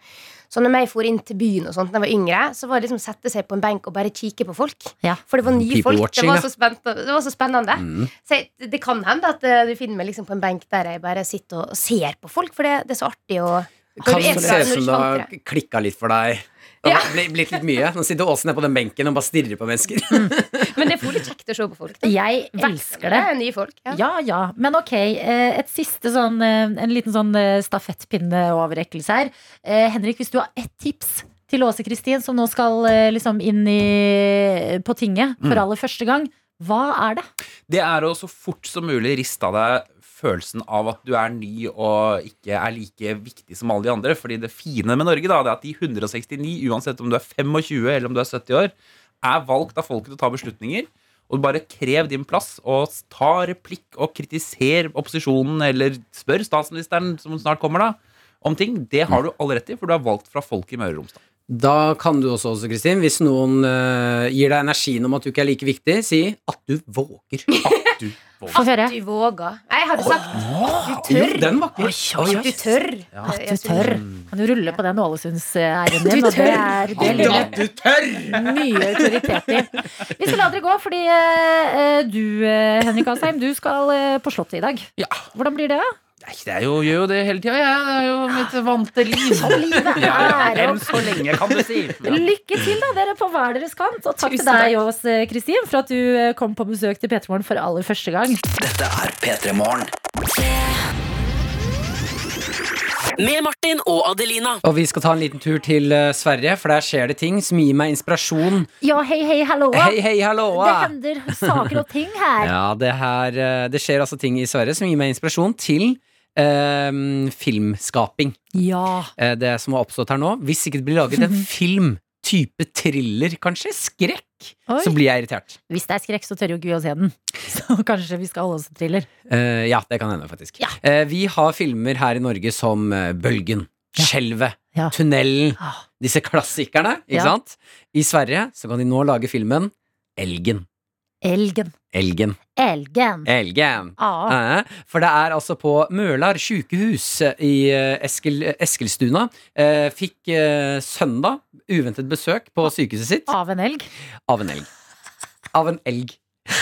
I: Så når jeg for inn til byen og sånt da jeg var yngre, så var det liksom å sette seg på en benk og bare kikke på folk.
B: Ja.
I: For det var nye
C: People
I: folk.
C: watching, ja. Mm.
I: det, var så spennende, det var så spennende. Så jeg, det kan hende at eh, du finner meg liksom på en benk der jeg bare sitter og ser på folk, for det, det er så artig å
C: Kan
I: Når du sånn er
C: det se
I: fra-
C: ut
I: når
C: som det
I: du ikke vant
C: har
I: til det.
C: klikka litt for deg? Det har bli- blitt litt mye. Nå sitter Åsen her på den benken og bare stirrer på mennesker.
I: Men det er fortsatt kjekt å se på folk. da.
B: Jeg elsker det.
I: er nye folk. Ja.
B: Ja, ja. Men ok, eh, et siste sånn, eh, en liten sånn eh, stafettpinneoverrekkelse her. Eh, Henrik, hvis du har ett tips til Åse Kristin, som nå skal eh, liksom inn i, på tinget
E: Mm.
B: for aller første gang, hva er det?
E: Det er å så fort som mulig riste av deg følelsen av at du er ny og ikke er like viktig som alle de andre. Fordi det fine med Norge da, det er at de 169, uansett om du er 25 eller om du er 70 år, er valgt av folket til å ta beslutninger. Og bare krev din plass, og ta replikk og kritiser opposisjonen, eller spør statsministeren, som snart kommer, da, om ting. Det har du all rett til, for du er valgt fra folket i Møre og Romsdal.
C: Da kan du også, Åse Kristin, hvis noen eh, gir deg energien om at du ikke er like viktig, si at du våger.
E: At du våger.
B: Få høre.
I: Du våger. Nei, jeg hadde sagt du
C: Jo,
I: tør.
C: den var ikke
I: At du tør.
B: At du tør. Mm. Kan du rulle på den Ålesunds-æren din?
I: Du
B: og det
I: tør.
B: er- det ligger
C: At du tør!
B: Mye autoritet i. Vi skal la dere gå, fordi eh, du, eh, Henrik Asheim, du skal eh, på Slottet i dag.
E: Ja.
B: Hvordan blir det?
E: Nei, det er jo, gjør jo det hele tida, jeg. Det er jo mitt vante liv. Sånn
B: livet er,
E: Enn så lenge, kan du si. Ja.
B: Lykke til, da, dere på hver deres kant. Og takk
I: Tusen
B: til deg, Ås Kristin, for at du eh, kom på besøk til P3 Morgen for aller første gang.
F: Med Martin og Adelina.
C: Og vi skal ta en liten tur til eh, Sverige, for der skjer det ting som gir meg inspirasjon.
B: Ja, hei, hei, halloa.
C: Hei, hei,
B: Det
C: halloa!
B: hender saker og ting her.
C: Ja, det her eh, Det skjer altså ting i Sverige som gir meg inspirasjon til eh, filmskaping.
B: Ja.
C: eh, det som har oppstått her nå. Hvis ikke det blir laget en film, type thriller, kanskje skrekk,
B: Oi.
C: så blir jeg irritert.
B: Hvis det er skrekk, så tør jo ikke vi å se den. Så kanskje vi skal holde oss til thriller.
C: Eh, ja, det kan hende, faktisk.
B: Ja.
C: Eh, vi har filmer her i Norge som eh, Bølgen,
B: Ja.
C: Skjelvet,
B: Ja.
C: Tunnelen,
B: Ah.
C: disse klassikerne, ikke
B: Ja.
C: sant? I Sverige så kan de nå lage filmen Elgen.
B: Elgen.
C: Elgen.
B: Elgen.
C: Elgen.
B: Ah.
C: Eh, For det er altså på Mølar sykehus i eh, Eskil, Eskilstuna eh, fikk eh, søndag uventet besøk på sykehuset sitt.
B: Av en elg.
C: Av en elg. Av en elg.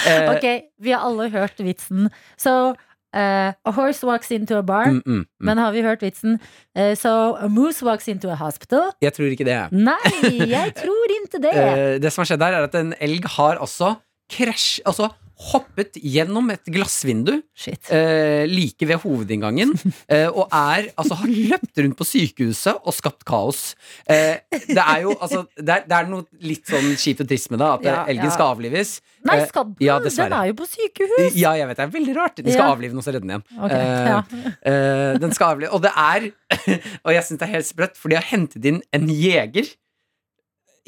C: Eh,
B: Ok, vi har alle hørt vitsen. So uh, a horse walks into a bar.
C: mm, mm, mm.
B: Men har vi hørt vitsen? Uh, so a moose walks into a hospital.
C: Jeg tror ikke det. jeg.
B: Nei, jeg tror ikke det.
C: Eh, det som har skjedd her, er at en elg har altså krasj... Altså hoppet gjennom et glassvindu
B: Shit.
C: eh, like ved hovedinngangen eh, og er Altså har løpt rundt på sykehuset og skapt kaos. Eh, det er jo altså det er, det er noe litt sånn kjipt og trist med det, at eh,
B: Ja,
C: elgen
B: ja.
C: skal avlives.
B: Nei,
C: eh,
B: skal den?
C: ja,
B: den
C: dessverre.
B: er jo på sykehus.
C: Ja, jeg vet det er veldig rart. De skal
B: Ja.
C: avlive den og så redde den igjen.
B: Ok,
C: Eh,
B: ja.
C: Eh, den skal avlive Og det er Og jeg syns det er helt sprøtt, for de har hentet inn en jeger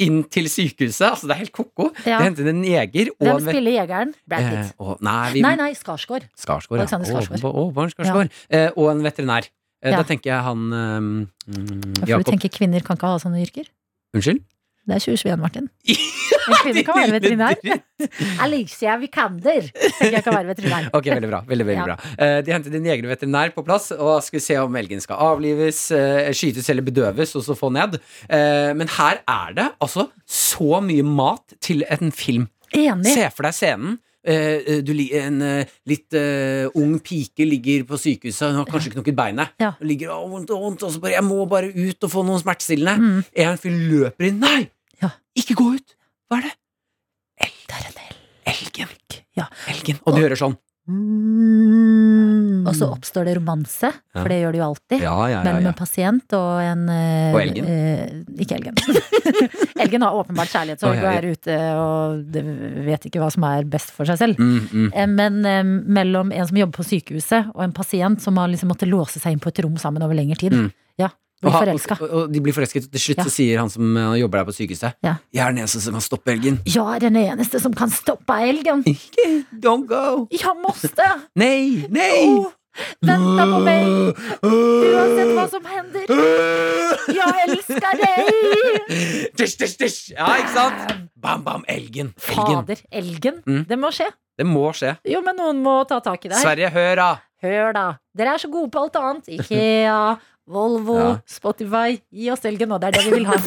C: inn til sykehuset. Altså, det er helt ko-ko.
B: Ja.
C: De har hentet inn en jeger og
B: Hvem
C: en vet-
B: spiller jegeren? Brad
C: eh,
B: Pitt.
C: og, nei, vi,
B: Nei, nei, Skarsgård.
C: Skarsgård, ja.
B: Alexander Skarsgård.
C: Å, å, Bård Skarsgård. Eh, og en veterinær. Eh,
B: Ja.
C: Da tenker jeg han ehm, mm,
B: Hvorfor du
C: Jakob
B: tenker kvinner kan ikke ha sånne yrker?
C: Unnskyld?
B: Det er 2021, Martin. En kvinne kan være veterinær. Alicia Vikander tenker jeg kan være veterinær.
C: Ok, veldig bra. veldig, veldig
B: Ja.
C: bra Eh, De hentet en jeger og veterinær på plass og skulle se om elgen skal avlives, eh, skytes eller bedøves, og så få ned. Eh, Men her er det altså så mye mat til en film.
B: Enig.
C: Se for deg scenen. Eh, eh, du, li- en eh, litt eh, ung pike ligger på sykehuset, hun har kanskje knokket beinet.
B: Ja.
C: Hun ligger og vondt og vondt, og så bare 'Jeg må bare ut og få noen smertestillende'. En fyr løper inn. 'Nei!
B: Mm. Ja.
C: Ikke gå ut!' Hva er det?
B: Det er en elg.
C: Elgen.
B: Ja.
C: elgen, og du hører sånn.
B: Og så oppstår det romanse,
C: Mm. Ja.
B: for det gjør det jo alltid.
C: Ja, ja, ja,
B: Mellom
C: ja.
B: en pasient og en eh,
C: Og elgen.
B: eh, Ikke elgen. elgen har åpenbart kjærlighetssorg og er ute og det- vet ikke hva som er best for seg selv.
C: Mm, mm.
B: Eh, Men eh, mellom en som jobber på sykehuset, og en pasient som har liksom måttet låse seg inn på et rom sammen over lengre tid.
C: Mm.
B: Ja,
C: Og
B: Blir
C: ha-
B: forelska.
C: Og, og de blir forelsket, og til slutt
B: Ja.
C: så sier han som eh, jobber der på sykehuset,
B: Ja.
C: 'Jeg er den eneste som kan stoppe elgen'.
B: Jeg er den eneste som kan stoppe elgen.
C: Don't go!
B: Jeg måste!
C: Nei! Nei!
B: Åh, vänta på meg! Uansett hva som hender. Jeg elsker deg!
C: Dysj, dysj, dysj! Ja, ikke sant? Bam, bam, elgen. Elgen.
B: Fader, elgen.
C: Mm.
B: Det må skje.
C: Det må skje.
B: Jo, men noen må ta tak i det. her.
C: Sverige, hør da!
B: Hør, da. Dere er så gode på alt annet. Ikea, Volvo,
C: Ja.
B: Spotify. Gi oss elgen nå. Det er det vi vil ha.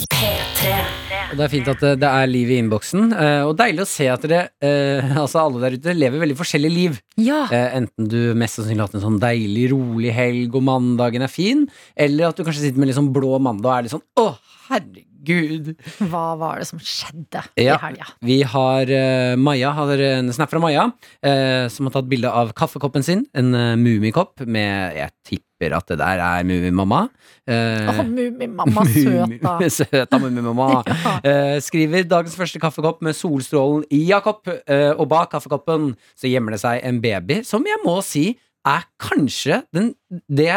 C: Og Det er fint at eh, det er liv i innboksen, eh, og deilig å se at dere, eh, altså alle der ute, lever veldig forskjellige liv.
B: Ja.
C: Eh, Enten du mest sannsynlig har hatt en sånn deilig, rolig helg, og mandagen er fin, eller at du kanskje sitter med litt sånn blå mandag og er litt sånn 'Å, herregud'.
B: Hva var det som skjedde
C: Ja.
B: i helga?
C: Vi har eh, Maja, har en snap fra Maja, eh, som har tatt bilde av kaffekoppen sin. En uh, Mummikopp med Jeg tipper at det der er Mummimamma.
B: Å,
C: Uh,
B: Mummimamma, søt, da.
C: Søta Mummimamma.
B: Ja.
C: Eh, skriver dagens første kaffekopp med solstrålen i Jakob, eh, og bak kaffekoppen så gjemmer det seg en baby, som jeg må si er kanskje den Det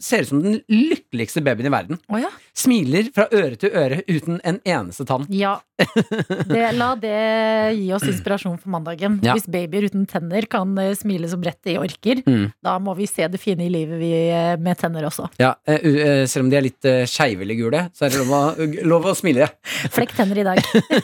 C: ser ut som den lykkeligste babyen i verden.
B: Å ja.
C: Smiler fra øre til øre uten en eneste tann.
B: Ja. Det, la det gi oss inspirasjon for mandagen.
C: Ja.
B: Hvis babyer uten tenner kan eh, smile så bredt de orker,
C: Mm.
B: da må vi se det fine i livet vi, eh, med tenner også.
C: Ja, eh, u- eh, selv om de er litt eh, skeive eller gule, så er det lov å, lov å smile.
B: Flekk tenner i dag.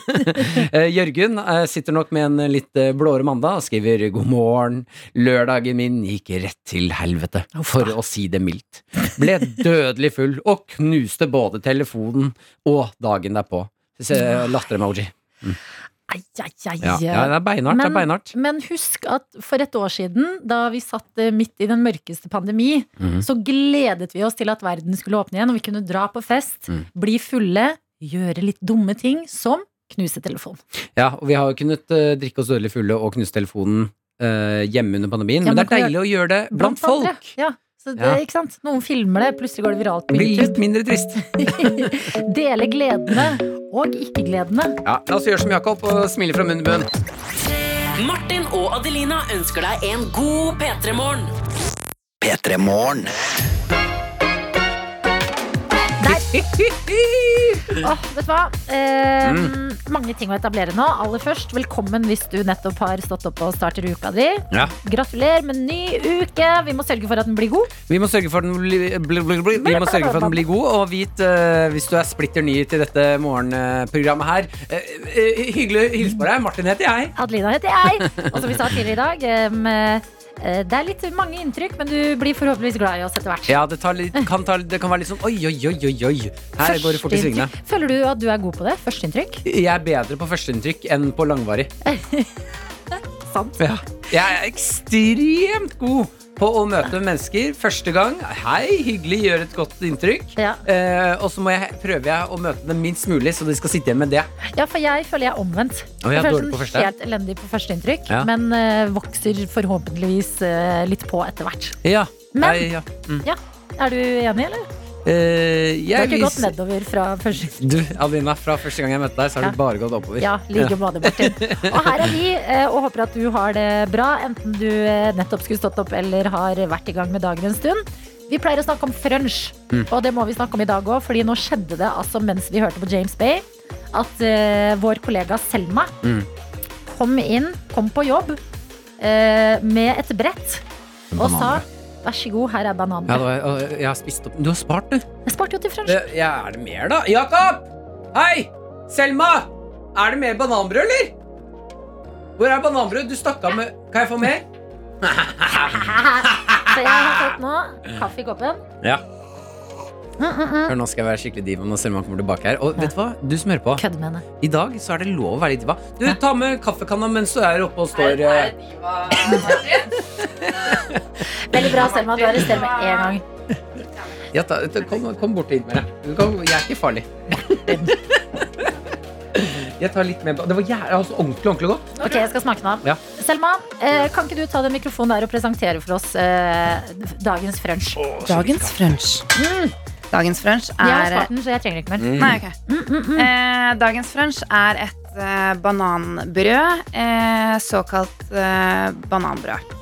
C: Eh, Jørgen eh, sitter nok med en litt eh, blåere mandag og skriver 'God morgen, lørdagen min gikk rett til helvete', for å si det mildt. Ble dødelig full og knuste både telefonen og dagen derpå. Se, eh, Latter-emoji.
B: Ai, ai, ai.
C: Ja. ja, det er beinhardt. det er
B: Men-
C: beinhardt.
B: Men husk at for et år siden, da vi satt eh, midt i den mørkeste pandemi,
C: Mhm.
B: så gledet vi oss til at verden skulle åpne igjen, og vi kunne dra på fest,
C: Mm.
B: bli fulle, gjøre litt dumme ting, som knuse telefon.
C: Ja, og vi har jo kunnet eh, drikke oss dødelig fulle og knuse telefonen eh, hjemme under pandemien,
B: Ja,
C: men
B: men
C: det er deilig å gjøre det blant
B: andre.
C: folk.
B: Ja. Så det,
C: Ja.
B: ikke sant? Noen filmer det, plutselig går det viralt på
C: Blir litt
B: YouTube.
C: mindre trist.
B: Dele gledene og ikke-gledene.
C: Ja, la oss gjøre som Jakob og smile fra munn til munn.
F: Martin og Adelina ønsker deg en god P3-morgen.
B: Åh, vet du hva? Eh,
C: Mm.
B: Mange ting å etablere nå. Aller først, velkommen hvis du nettopp har stått opp og starter uka di.
C: Ja.
B: Gratulerer med ny uke. Vi må sørge for at den blir god.
C: Vi må sørge for at den, bli- bli- bli- bli- vi må sørge for at den blir god, og vit eh, hvis du er splitter ny til dette morgenprogrammet her. eh, eh, hyggelig å hilse på deg. Martin heter jeg.
B: Adelina heter jeg. Og som vi sa tidligere i dag, em, eh, det er litt mange inntrykk, men du blir forhåpentligvis glad i oss etter hvert.
C: Ja, det, tar litt, kan ta, det kan være litt sånn oi, oi, oi, oi. oi. Her går det fort i svingene.
B: Førsteinntrykk. Føler du at du er god på det? Førsteinntrykk?
C: Jeg er bedre på førsteinntrykk enn på langvarig.
B: Sant.
C: Ja. Jeg er ekstremt god på å møte mennesker første gang. Hei, hyggelig, gjør et godt inntrykk.
B: Ja.
C: Eh, og så må jeg, prøver jeg å møte dem minst mulig, så de skal sitte igjen med det.
B: ja, for jeg føler jeg er omvendt.
C: Å, jeg er
B: føler
C: dårlig på første.
B: helt elendig på førsteinntrykk,
C: Ja.
B: men eh, vokser forhåpentligvis eh, litt på etter hvert.
C: Ja.
B: Men-
C: Nei, ja. Mm.
B: Ja. Er du enig, eller?
C: Eh,
B: Du har
C: jeg
B: ikke gått
C: viser-
B: nedover fra første
C: Du, Adelina, fra første gang jeg møtte deg, så har
B: Ja.
C: du bare gått oppover.
B: Ja, like måte, Martin. Og her er vi, eh, og håper at du har det bra, enten du eh, nettopp skulle stått opp eller har vært i gang med dagen en stund. Vi pleier å snakke om frunch,
C: Mm.
B: og det må vi snakke om i dag òg, fordi nå skjedde det altså mens vi hørte på James Bay, at eh, vår kollega Selma
C: Mm.
B: kom inn, kom på jobb, eh, med et brett og sa Vær så god, her er
C: Ja, det
B: bananene.
C: var, og jeg har spist opp Du har spart, du.
B: Jeg sparte jo til frunch.
C: Det- Ja, er det mer, da? Jakob! Hei! Selma! Er det mer bananbrød, eller? Hvor er bananbrød? Du stakk av med Kan jeg få mer?
B: Så jeg har fått nå kaffe i koppen.
C: Ja.
B: Mm, mm, mm.
C: Hør, nå skal jeg være skikkelig diva når Selma kommer tilbake her. Og vet du hva? Du som hører på,
B: Kødd med henne.
C: i dag så er det lov å være litt diva. Du, ta med kaffekanna mens du er oppe og står eh,
B: Veldig bra, Selma. Du arresterer med en gang.
C: ja, ta, ta, kom, kom bort hit med deg. Kom, Jeg er ikke farlig. Jeg tar litt mer Det var jævlig, altså, ordentlig, ordentlig godt.
B: Ok, jeg skal smake den av.
C: Ja.
B: Selma, eh, kan ikke du ta den mikrofonen der og presentere for oss eh, dagens frunch?
L: Dagens frunch. Mm. Dagens frunch
B: Jeg har
L: er
B: spart den, så jeg trenger ikke mer.
I: Mm.
L: Nei, ok. Eh, dagens frunch er et eh, bananbrød. Eh, såkalt eh, bananbrød.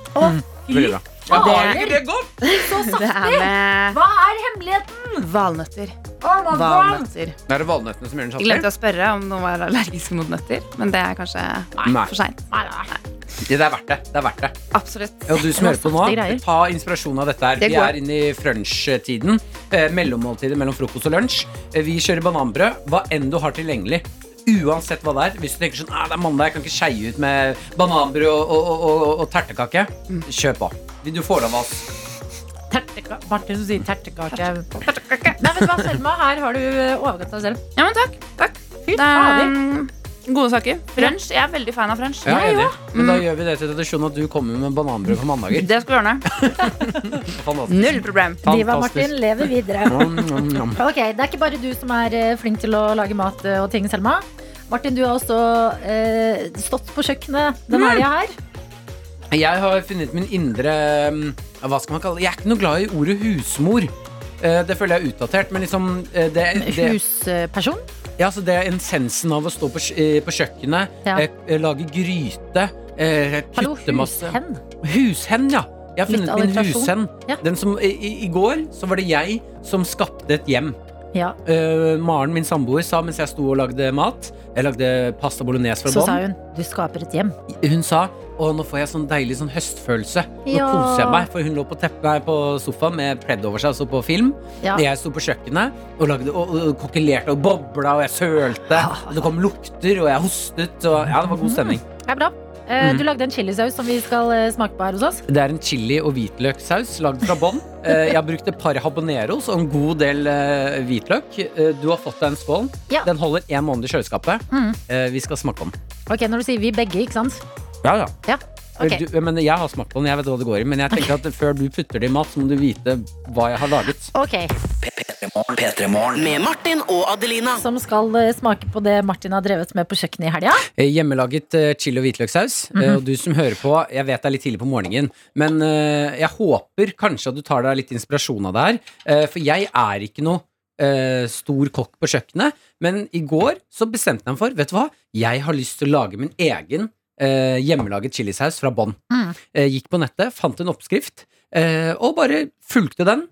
C: Veldig bra.
L: Ja, det
C: Var
L: er-
C: ikke det godt?
B: Så
L: Det er med
B: Hva er hemmeligheten?
L: Valnøtter.
B: Oh my God.
L: Valnøtter.
C: Er det valnøttene som gjør
L: Jeg
C: den sjansen?
L: glemte å spørre om noen var allergisk mot nøtter, men det er kanskje
C: Nei.
L: for seint.
C: Ja, det er verdt det. det, er verdt det.
L: Absolutt.
C: Ja, og du som hører på nå,
L: Saftige greier.
C: ta inspirasjon av dette her.
L: Det
C: Vi
L: går.
C: er inne i frunch-tiden. Eh, mellommåltidet mellom frokost og lunsj. Eh, vi kjører bananbrød. Hva enn du har tilgjengelig. Uansett hva det er. Hvis du tenker sånn, ah, det er mandag, jeg kan ikke skeie ut med bananbrød og, og, og, og, og tertekake. Kjør på. Vil Mm. Du får det av oss.
B: Terteka- Martin som sier tertekake. Nei, vet du hva, Selma, her har du eh, overgått deg selv.
L: Ja, men takk. takk.
B: Fy
L: Det er,
B: fader.
L: mm, gode saker. Frunch. Jeg er veldig fan av frunch.
C: Ja, enig. Men da
B: Mm.
C: gjør vi det til tradisjon at du kommer med bananbrød på mandager.
L: Det skal vi ordne.
C: Fantastisk.
L: Null problem.
B: Diva Martin lever videre.
C: Nom, nom, nom.
B: Ok, Det er ikke bare du som er eh, flink til å lage mat eh, og ting, Selma. Martin, du har også eh, stått på kjøkkenet denne
C: Mm.
B: helga her.
C: Jeg har funnet min indre mm, Hva skal man kalle det? Jeg er ikke noe glad i ordet husmor. Eh, Det føler jeg er utdatert, men liksom eh, det, det,
B: Husperson.
C: ja, altså det er essensen av å stå på, kj- eh, på kjøkkenet,
B: Ja.
C: eh, eh, lage gryte, eh,
B: Hallo,
C: kutte masse
B: hushen.
C: Hushen, ja. Jeg har
B: Litt
C: funnet min
B: alliterasjon.
C: hushen.
B: Ja.
C: Den som, i, i, I går så var det jeg som skapte et hjem.
B: Ja,
C: Eh, Maren, min samboer, sa mens jeg sto og lagde mat Jeg lagde pasta bolognese fra
B: så sa
C: bånn.
B: hun du skaper et hjem.
C: Hun sa å, nå får jeg sånn deilig sånn høstfølelse. Nå
B: Ja.
C: koser jeg meg, for hun lå på, teppet, nei, på sofaen med pledd over seg og så på film.
B: Ja.
C: Jeg sto på kjøkkenet og, lagde, og, og kokkelerte og bobla, og jeg sølte. Og det kom lukter, og jeg hostet. Og, ja, det var god stemning.
B: Det er bra. Eh,
C: Mm.
B: Du lagde en chilisaus som vi skal eh, smake på her hos oss.
C: Det er en chili- og hvitløksaus lagd fra bånn. Eh, Jeg brukte par habaneros og en god del eh, hvitløk. Eh, Du har fått deg en skål.
B: Ja.
C: Den holder én måned i kjøleskapet.
B: Mm.
C: Eh, Vi skal smake på den.
B: Ok, Når du sier vi begge, ikke sant?
C: Ja, ja.
B: Ja, ok.
C: Du, men jeg har smakt på den, jeg vet hva det går i. Men jeg tenker at før du putter det i mat, så må du vite hva jeg har laget.
B: Ok,
F: Med Martin og Adelina.
B: Som skal eh, smake på det Martin har drevet med på kjøkkenet i helga.
C: Eh, Hjemmelaget eh, chili- og hvitløkssaus.
B: Mhm.
C: Eh, Og du som hører på, jeg vet det er litt tidlig på morgenen, men eh, jeg håper kanskje at du tar deg litt inspirasjon av det her. Eh, For jeg er ikke noe eh, stor kokk på kjøkkenet, men i går så bestemte jeg meg for, vet du hva, jeg har lyst til å lage min egen eh, hjemmelaget chilisaus fra bånn.
B: Mm.
C: Eh, Gikk på nettet, fant en oppskrift, eh, og bare fulgte den.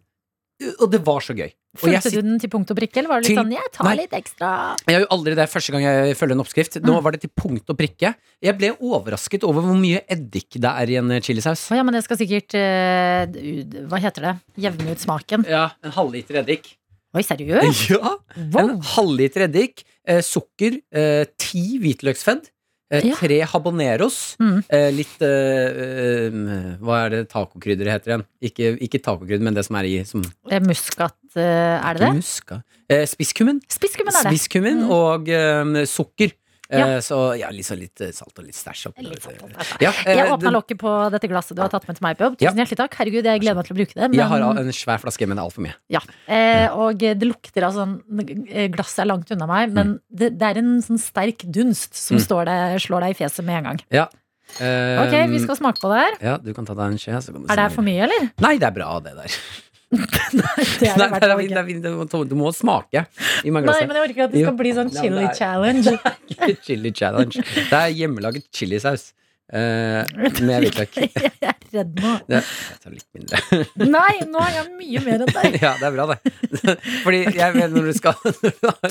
C: Og det var så gøy. Og jeg
B: Fulgte du den til punkt og prikke, eller var du litt
C: Til-
B: sånn 'jeg
C: Nei.
B: tar litt ekstra'?
C: Jeg gjør jo aldri det første gang jeg følger en oppskrift.
B: Mm.
C: Nå var det til punkt og prikke. Jeg ble overrasket over hvor mye eddik det er i en chilisaus.
B: Å ja, men det skal sikkert eh, d- Hva heter det? Jevne ut smaken.
C: Ja, en halvliter eddik.
B: Oi, seriøst?
C: Ja, En
B: Wow.
C: halvliter eddik, eh, sukker, eh, ti hvitløksfedd, eh,
B: Ja.
C: tre habaneros,
B: Mm.
C: eh, litt eh, eh, Hva er det tacokrydderet heter igjen? Ikke, ikke tacokrydder, men det som er i som
B: Eh, Muskat, eh, er det det?
C: muska. Eh, spisskummen.
B: Spisskummen er det.
C: Spisskummen
B: Mm.
C: og eh, sukker. Eh,
B: Ja.
C: Så ja, litt, sånn litt eh, salt og litt stæsj opp.
B: Litt sånn, altså.
C: Ja, eh,
B: Jeg åpna
C: det-
B: lokket på dette glasset du har tatt med til meg på jobb.
C: Ja.
B: Tusen hjertelig takk. Herregud, jeg gleder meg til å bruke det.
C: Jeg har
B: Men,
C: en svær flaske, men det er altfor mye.
B: ja. eh, og det lukter av sånn Glasset er langt unna meg, men det, det er en sånn sterk dunst som
C: Mm.
B: står deg, slår deg i fjeset med en gang.
C: Eh,
B: Ok, vi skal smake på det her.
C: Ja, du kan ta deg en skje. Så kan du
B: Er det her
C: si-
B: for mye, eller?
C: Nei, det er bra, det der.
B: Det er
C: Nei,
B: det
C: det
B: verdt
C: er
B: å
C: fint, det
B: ikke.
C: er fint, du må- Du må smake. Gi meg
B: Nei,
C: glasset.
B: men jeg orker ikke at det skal
C: Jo.
B: bli sånn
C: Ja, men
B: chili
C: det er-
B: challenge.
C: chili challenge. Det er hjemmelaget chilisaus. Eh, med hvitløk.
B: Jeg er redd nå.
C: Det- Jeg tar litt mindre.
B: Nei, nå har jeg mye mer enn deg.
C: Ja, det er bra, det. Fordi jeg vet når du skal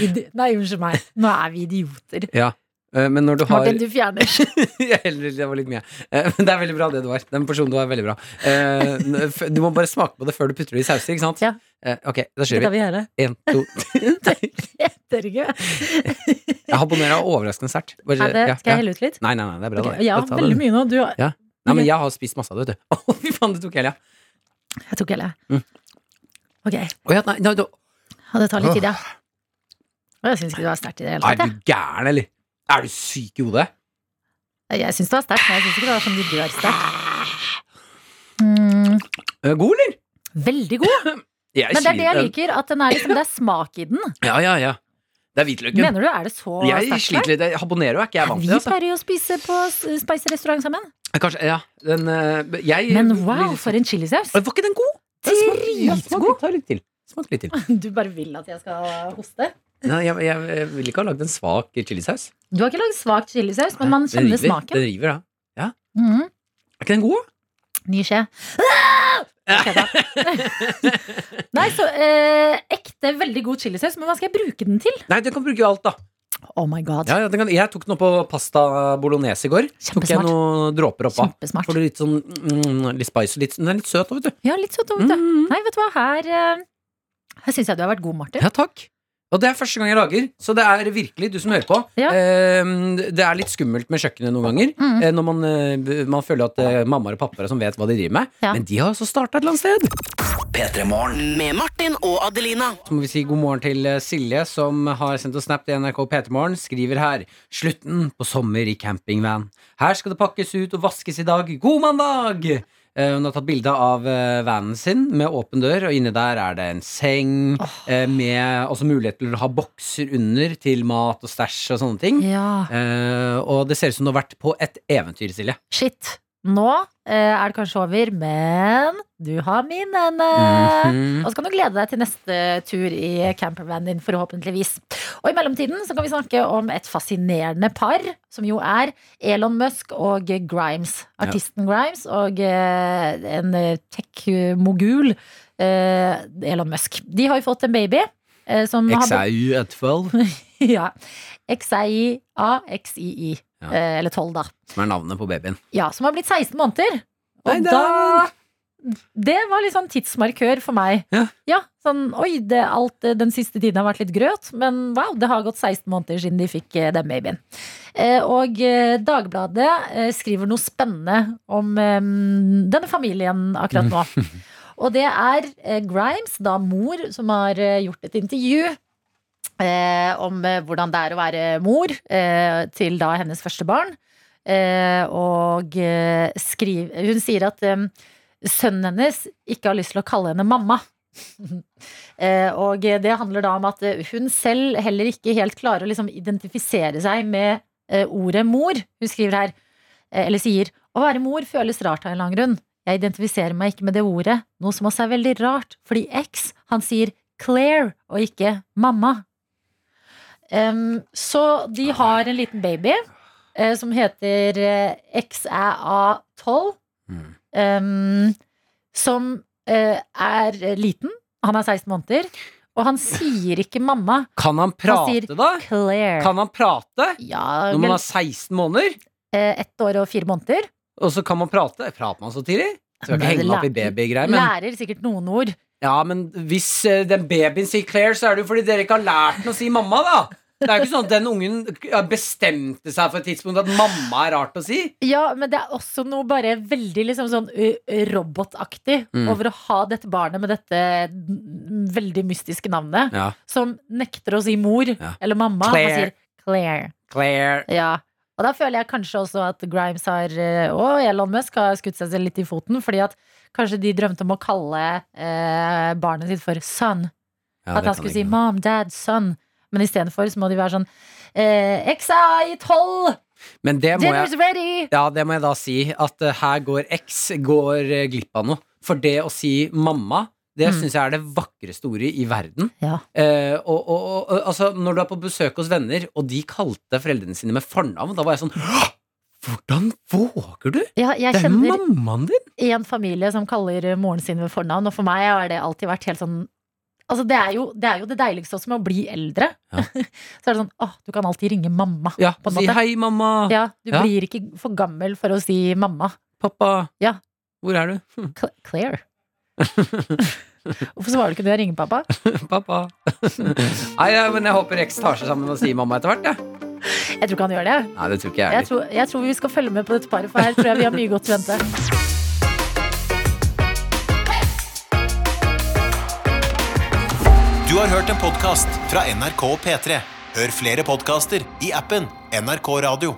B: Idi- Nei, unnskyld meg. Nå er vi idioter.
C: Ja. eh, Men når du har
B: Martin, du fjerner.
C: Jeg heller- Det var litt mye. Eh, Men det er veldig bra, det du har. Den personen du har, er veldig bra. Eh, n- f- Du må bare smake på det før du putter det i sauser, ikke sant?
B: Ja.
C: Eh, Ok, da
B: Det
C: kjører
B: kan
C: vi.
B: vi gjøre.
C: Én, to
B: Heter ikke.
C: Jeg habonerer overraskende sterkt. Bare-
B: Er det,
C: ja,
B: skal
C: ja.
B: jeg helle ut litt?
C: Nei, nei, nei, det er bra.
B: Ok,
C: det.
B: Jeg har
C: Ta
B: veldig
C: den.
B: mye nå. Du, har-
C: Nei, men jeg har spist masse av det, vet du. Å, fy faen, det tok hele. ja.
B: jeg tok hele.
C: Mm.
B: Ok,
C: Å, ja, nei, nei, da-
B: ja, det tar litt tid, ja. Og jeg syns ikke det var sterkt i det hele
C: nei,
B: tatt.
C: er du gæren, eller? Er du syk i hodet?
B: Jeg, jeg syns det var sterkt, men jeg syns ikke det var som det dør sterkt. Mm,
C: Eh, God, eller?
B: veldig god.
C: Jeg
B: Men det er det jeg
C: sliter.
B: liker, at den er liksom, det er smak i den.
C: Ja, ja, ja. Det er hvitløken.
B: Mener du, er det så
C: Jeg
B: sterkt
C: sliter
B: der?
C: litt. Jeg- Habanero er ikke jeg vant
B: Vi
C: til. Altså.
B: pleier jo å spise på Spice-restaurant sammen.
C: Kanskje, ja, den, eh, jeg, sånn-
B: Men wow, for en chilisaus!
C: Var ikke den god?
B: Dritgod!
C: Ta litt til. Smak litt til.
B: Du bare vil at jeg skal hoste.
C: Nei, jeg, jeg, jeg vil ikke ha lagd en svak chilisaus.
B: Du har ikke lagd svak chilisaus, men man
C: Den
B: kjenner
C: river.
B: smaken.
C: Den river, da. Ja.
B: Mhm.
C: Er ikke den god?
B: Ny skje. Ah! Ok, da. Nei, så eh, ekte veldig god chilisaus, men hva skal jeg bruke den til?
C: Nei, den kan bruke alt, da.
B: Oh my god.
C: Ja, ja, den kan, jeg tok den opp på pasta bolognese i går. Tok jeg
B: Kjempesmart.
C: noen dråper opp av.
B: Kjempesmart.
C: Får du litt sånn mm, litt spice. Litt, den er litt søt òg, vet du. Mm.
B: Ja, litt sånn dumt, ja. Nei, vet du hva, her eh, Her syns jeg du har vært god, Martin.
C: Ja, takk. Og det er første gang jeg lager, så det er virkelig du som hører på. Eh, det er litt skummelt med kjøkkenet noen ganger.
B: Mm.
C: eh, når man, eh, man føler at eh, mammaer og pappaer som vet hva de driver med.
B: Ja.
C: Men de har også starta et eller annet sted.
F: Med Martin og Adelina.
C: Så må vi si god morgen til eh, Silje, som har sendt oss snap til NRK P3morgen. Skriver her 'Slutten på sommer i campingvan'. Her skal det pakkes ut og vaskes i dag. God mandag! Eh, Hun har tatt bilde av eh, vanen sin med åpen dør, og inne der er det en seng eh, med også mulighet til å ha bokser under til mat og stæsj og sånne ting.
B: Ja.
C: Eh, og det ser ut som du har vært på et eventyr, Silje.
B: Shit. Nå eh, er det kanskje over, men du har minnene.
C: Mhm.
B: Og så kan du glede deg til neste tur i campervanen din, forhåpentligvis. Og i mellomtiden så kan vi snakke om et fascinerende par, som jo er Elon Musk og Grimes. Artisten Grimes og eh, en eh, tech-mogul, eh, Elon Musk. De har jo fått en baby. Eh, som har bo-
C: XAU12,
B: ja. XIA-XII.
C: Ja.
B: Eh, eller 12, da.
C: som er navnet på babyen.
B: Ja, som har blitt 16 måneder. Og
C: Nei,
B: da Det var litt sånn tidsmarkør for meg.
C: Ja.
B: sånn, Oi, det, alt eh, den siste tiden har vært litt grøt, men wow, det har gått 16 måneder siden de fikk eh, den babyen. Eh, Og eh, Dagbladet eh, skriver noe spennende om eh, denne familien akkurat nå. Og det er eh, Grimes, da mor, som har eh, gjort et intervju eh, om eh, hvordan det er å være mor eh, til da hennes første barn. Eh, og eh, skriv, hun sier at eh, sønnen hennes ikke har lyst til å kalle henne mamma. eh, og det handler da om at eh, hun selv heller ikke helt klarer å liksom, identifisere seg med eh, ordet mor. Hun skriver her, eh, eller sier, å være mor føles rart av en eller annen grunn. Jeg identifiserer meg ikke med det ordet, noe som også er veldig rart, fordi X, han sier Claire og ikke mamma. Em, så de har en liten baby eh, som heter eh, XAA12, em, Ehm, som eh, er eh, liten. Han er 16 måneder, og han sier ikke mamma.
C: Kan han
B: Han sier
C: prate, da?
B: Claire.
C: Kan han prate?
B: Ja,
C: Når man
B: vel,
C: er 16 måneder,
B: eh, ett år og fire måneder.
C: og så kan man prate Prater man så tidlig? Skal ikke
B: Nei,
C: henge meg opp i
B: lærer-
C: babygreier, men
B: Lærer sikkert noen ord.
C: Ja, men hvis eh, den babyen sier Claire, så er det jo fordi dere ikke har lært den å si mamma, da. Det er jo ikke sånn at den ungen bestemte seg for et tidspunkt at mamma er rart å si.
B: Ja, men det er også noe bare veldig liksom sånn ø, ø, robotaktig
C: Mm.
B: over å ha dette barnet med dette n- veldig mystiske navnet,
C: Ja.
B: som nekter å si mor eller mamma. Han
C: Claire.
B: sier Claire.
C: Claire.
B: Ja. Og da føler jeg kanskje også at Grimes har ø, og Elon Musk har skutt seg selv litt i foten, fordi at kanskje de drømte om å kalle eh, barnet sitt for son.
M: Ja, det
B: at han
M: kan
B: skulle
M: jeg
B: si mom, dad, son. Men istedenfor så må de være sånn eh, XI 12!
C: Men det må
B: Dinner's
C: jeg
B: ready!
C: Ja, det må jeg da si, at eh, her går X går eh, glipp av noe. For det å si mamma, det
B: Mm.
C: synes syns jeg er det vakreste ordet i verden.
B: Ja.
C: Eh, og, og, og, og altså, når du er på besøk hos venner, og de kalte foreldrene sine med fornavn, da var jeg sånn «Hå! Hvordan våger du?
B: Ja, jeg
C: det er jo
B: kjenner-
C: mammaen din!
B: i en familie som kaller moren sin ved fornavn, og for meg har det alltid vært helt sånn Altså, det er jo det, er jo det deiligste også med å bli eldre. så er det sånn åh, du kan alltid ringe mamma,
C: Ja,
B: på en
C: Altså, si
B: måte.
C: hei, mamma.
B: Ja, du
C: Ah, Ja.
B: blir ikke for gammel for å si mamma.
C: Pappa,
B: Ja,
C: hvor er du?
B: Cl Claire. Hvorfor svarer du ikke det jeg ringer pappa?
C: pappa. Nei, ja, men jeg håper X tar seg sammen og sier mamma etter hvert, jeg.
B: Jeg tror ikke han gjør det.
C: Nei, det tror ikke
B: Jeg
C: jeg heller.
B: tror, jeg tror vi skal følge med på dette paret, for her tror jeg vi har mye godt i vente.
A: Du har hørt en podcast fra NRK P3. Hør flere podcaster i appen NRK Radio.